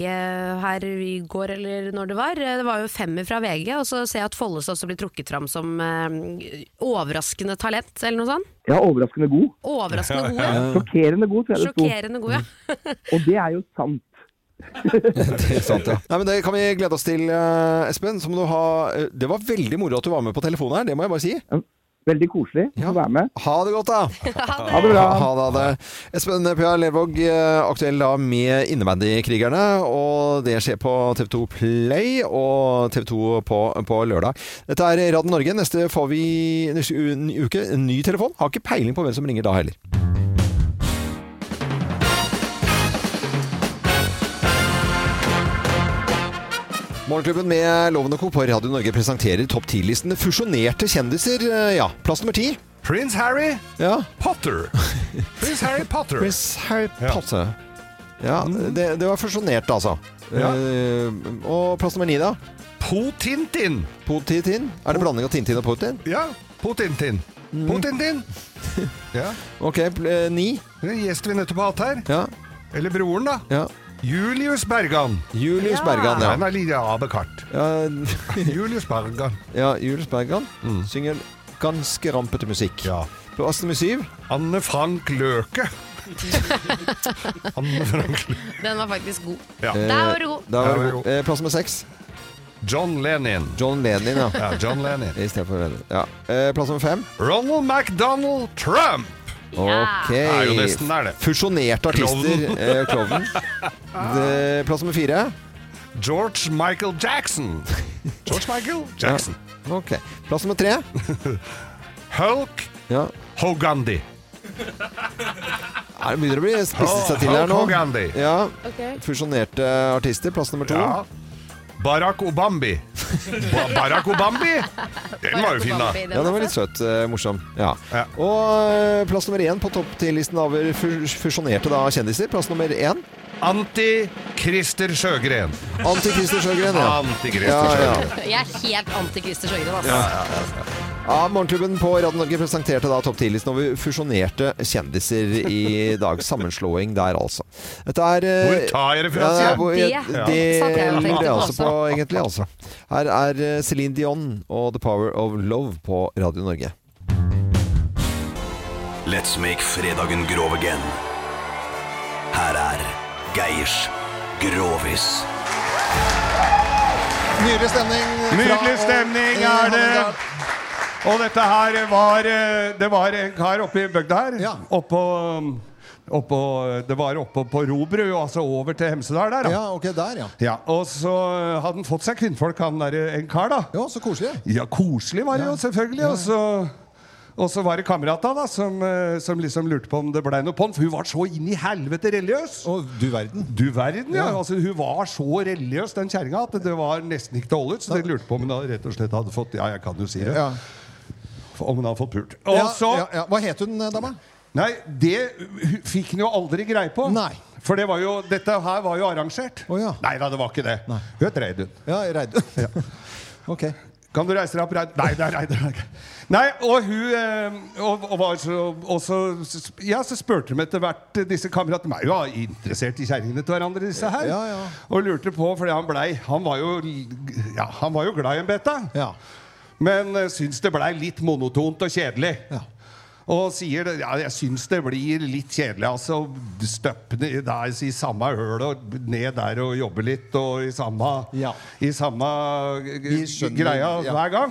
her i går eller når det var. Det var jo femmer fra VG, og så ser jeg at Follestad også blir trukket fram som eh, overraskende talent, eller noe sånt.
Ja, overraskende god.
Overraskende god, ja.
Sjokkerende god, tror jeg det sto.
Sjokkerende god, ja.
Og det er jo sant.
Det er sant, ja. Nei, men det kan vi glede oss til, eh, Espen. Så må du ha eh, Det var veldig moro at du var med på telefonen her, det må jeg bare si.
Veldig koselig å være med.
Ha det godt, da.
[LAUGHS] Ha det bra.
Ha det, ha det. Espen Pia Lervåg, eh, aktuell da med Innebandykrigerne. Og det skjer på TV2 Play og TV2 på, på lørdag. Dette er Radio Norge. Neste får vi neste u- en uke en ny telefon. Har ikke peiling på hvem som ringer da heller. Morgenklubben med Loven og Co. på Radio Norge presenterer topp 10-listene fusjonerte kjendiser. Eh, Ja, plass nummer ti.
Prins Harry
Ja. [LAUGHS]
Potter. Prins Harry Potter.
Prins Harry Potter. Ja, det, det var fusjonert, altså.
Ja.
Eh, og plass nummer ni, da?
Potintin.
Potitin? Er det blanding av Tintin og Putin?
Ja. Potintin.
Mm. [LAUGHS]
Potintin. Ja.
Ok, pl- eh, ni.
Det er en gjest vi nettopp har hatt her. Eller broren, da.
Ja.
Julius Bergan.
Julius Bergan, ja.
Han er litt abekart. Julius Bergan.
Ja, Julius Bergan synger ganske rampete musikk. Plass nummer syv?
Anne Frank
[LAUGHS]
Løke. Anne Frank Løke.
Den var faktisk god.
Ja.
Eh.
Der var du god.
Der var du god. Eh, Plass nummer seks?
John Lenin.
John Lenin, ja.
Ja, John Lenin.
I stedet for Lenin. Ja. Eh, plass nummer fem?
Ronald McDonald Trump.
Ok.
Det er jo nesten der, det.
Fusjonerte artister.
Klovnen.
Eh,
[LAUGHS]
Klovnen. Det- Plass nummer fire?
George Michael Jackson. George Michael Jackson.
Ja. Ok. Plass nummer tre?
Hulk
Ja.
Hogandi.
Nei, Det begynner å bli spisset seg til her nå.
Hulk Hogandi.
Ja. Fusjonerte artister. Plass nummer to.
Ja. Barack Obambi. Ba Barack Obambi?
[LAUGHS]
Den var jo fin, da.
Ja, den var litt søt. eh, morsom. Ja. Og eh, plass nummer én på topp 10-listen over fus- fusjonerte da, kjendiser. Plass nummer én.
Anti-Christer Sjøgren.
Anti-Christer Sjøgren, ja.
Anti-Christer
Ja, ja.
Sjøgren.
Jeg er helt anti-Christer Sjøgren,
altså.
ass.
Ja, Morgenklubben på Radio Norge presenterte da topp 10-listen over fusjonerte kjendiser i dag. Sammenslåing der, altså. Dette er eh,
Hvor tar jeg det fra, sier jeg?
hvor-
Det
det
satt jeg og tenkte
lurer jeg
på
altså på, egentlig. altså. Her er eh, Celine Dion og The Power of Love på Radio Norge.
Let's make fredagen grov again. Her er Geirs Grovis.
Nydelig stemning.
fra-
Nydelig stemning er det. Og dette her var eh, Det var en kar oppe i bygda her. Oppå, eh, oppå Det var oppå på Robru, altså over til Hemsedal der. da.
Ja, ok, der, ja.
Ja, og så hadde han fått seg kvinnfolk, han der, eh, en kar, da.
Ja, så koselig.
Ja, koselig var det jo, selvfølgelig. Og så, og så var det kamerata da, som, eh, som liksom lurte på om det blei noe på den, for hun var så inn i helvete religiøs.
Og du verden.
Du verden, ja.
Ja.
Altså, hun var så religiøs, den kjerringa, at det var nesten ikke til å holde ut. Så de lurte på om hun hadde rett og slett hadde fått Ja, jeg kan jo si det.
Ja.
Om hun hadde fått pult. Og
Ja,
så
ja, ja. Hva het hun, eh, dama?
Nei, det hu- fikk han jo aldri greie på. For det var jo, dette her var jo arrangert. Nei da, det var ikke det. Hun het Reidun.
Ja, Reidun. [LAUGHS]
Kan du reise deg opp, Reidun? Nei, det er Reidun. Nei, og hun eh, og, og var så, og så, ja, så spurte de etter hvert eh, disse kameratene De er jo interessert i kjerringene til hverandre, disse her.
Ja, ja.
Og lurte på, fordi han blei Han var jo, l- ja, han var jo glad i en beta. Men eh, syns det blei litt monotont og kjedelig. Og sier det, ja, jeg syns det blir litt kjedelig. altså Støpp ned der i samme høl og ned der og jobbe litt og i samme, i samme g- g-
skjønner,
greia
ja. Mm.
hver gang.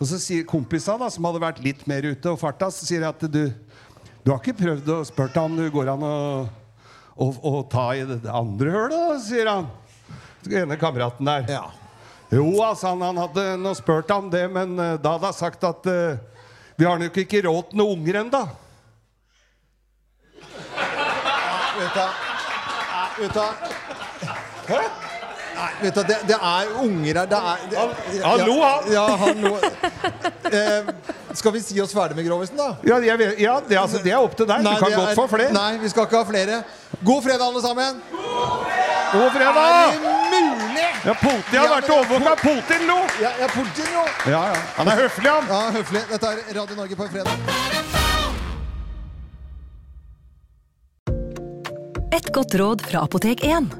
Og så sier kompisa da, som hadde vært litt mer ute og farta, så sier jeg at du, du har ikke prøvd å spørre om det går an å, å, å ta i det andre hølet, da, sier han. Den ene kameraten der. Jo, altså, han, han hadde nå spurt om det, men eh, da hadde han sagt at eh, vi har nok ikke råd til noen unger ennå.
Vet du, vet du, Nei, vet du, det, det er unger her. Det er, det,
han lo, han.
Ja, han lo. Eh, skal vi si oss ferdig med Grovisen, da?
Ja, jeg vet, ja det, altså, det er opp til deg.
Nei,
du kan
det
godt
er-
få flere.
Nei, vi skal ikke ha flere. God fredag, alle sammen!
God
Er
fredag!
det mulig?
Ja, Putin har vært overvåka. Putin nå!
Ja, ja, Putin nå.
Ja, ja. Han er høflig, han.
Ja, høflig. Dette er Radio Norge på en fredag.
Et godt råd fra Apotek 1.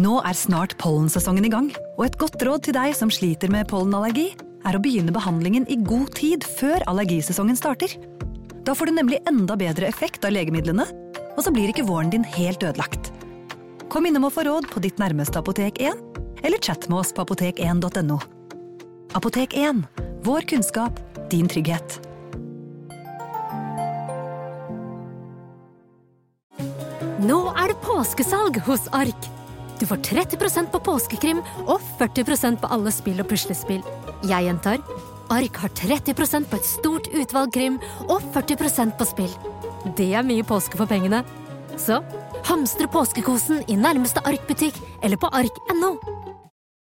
Nå er snart pollensesongen i gang, og et godt råd til deg som sliter med pollenallergi, er å begynne behandlingen i god tid før allergisesongen starter. Da får du nemlig enda bedre effekt av legemidlene, og så blir ikke våren din helt ødelagt. Kom innom og få råd på ditt nærmeste Apotek 1, eller chat med oss på apotek1.no. Apotek 1 vår kunnskap, din trygghet.
Nå er det påskesalg hos Ark. Du får 30 på påskekrim og 40 på alle spill og puslespill. Jeg gjentar Ark har 30 på et stort utvalg krim og 40 på spill. Det er mye påske for pengene. Så hamstre påskekosen i nærmeste Ark-butikk eller på ark.no.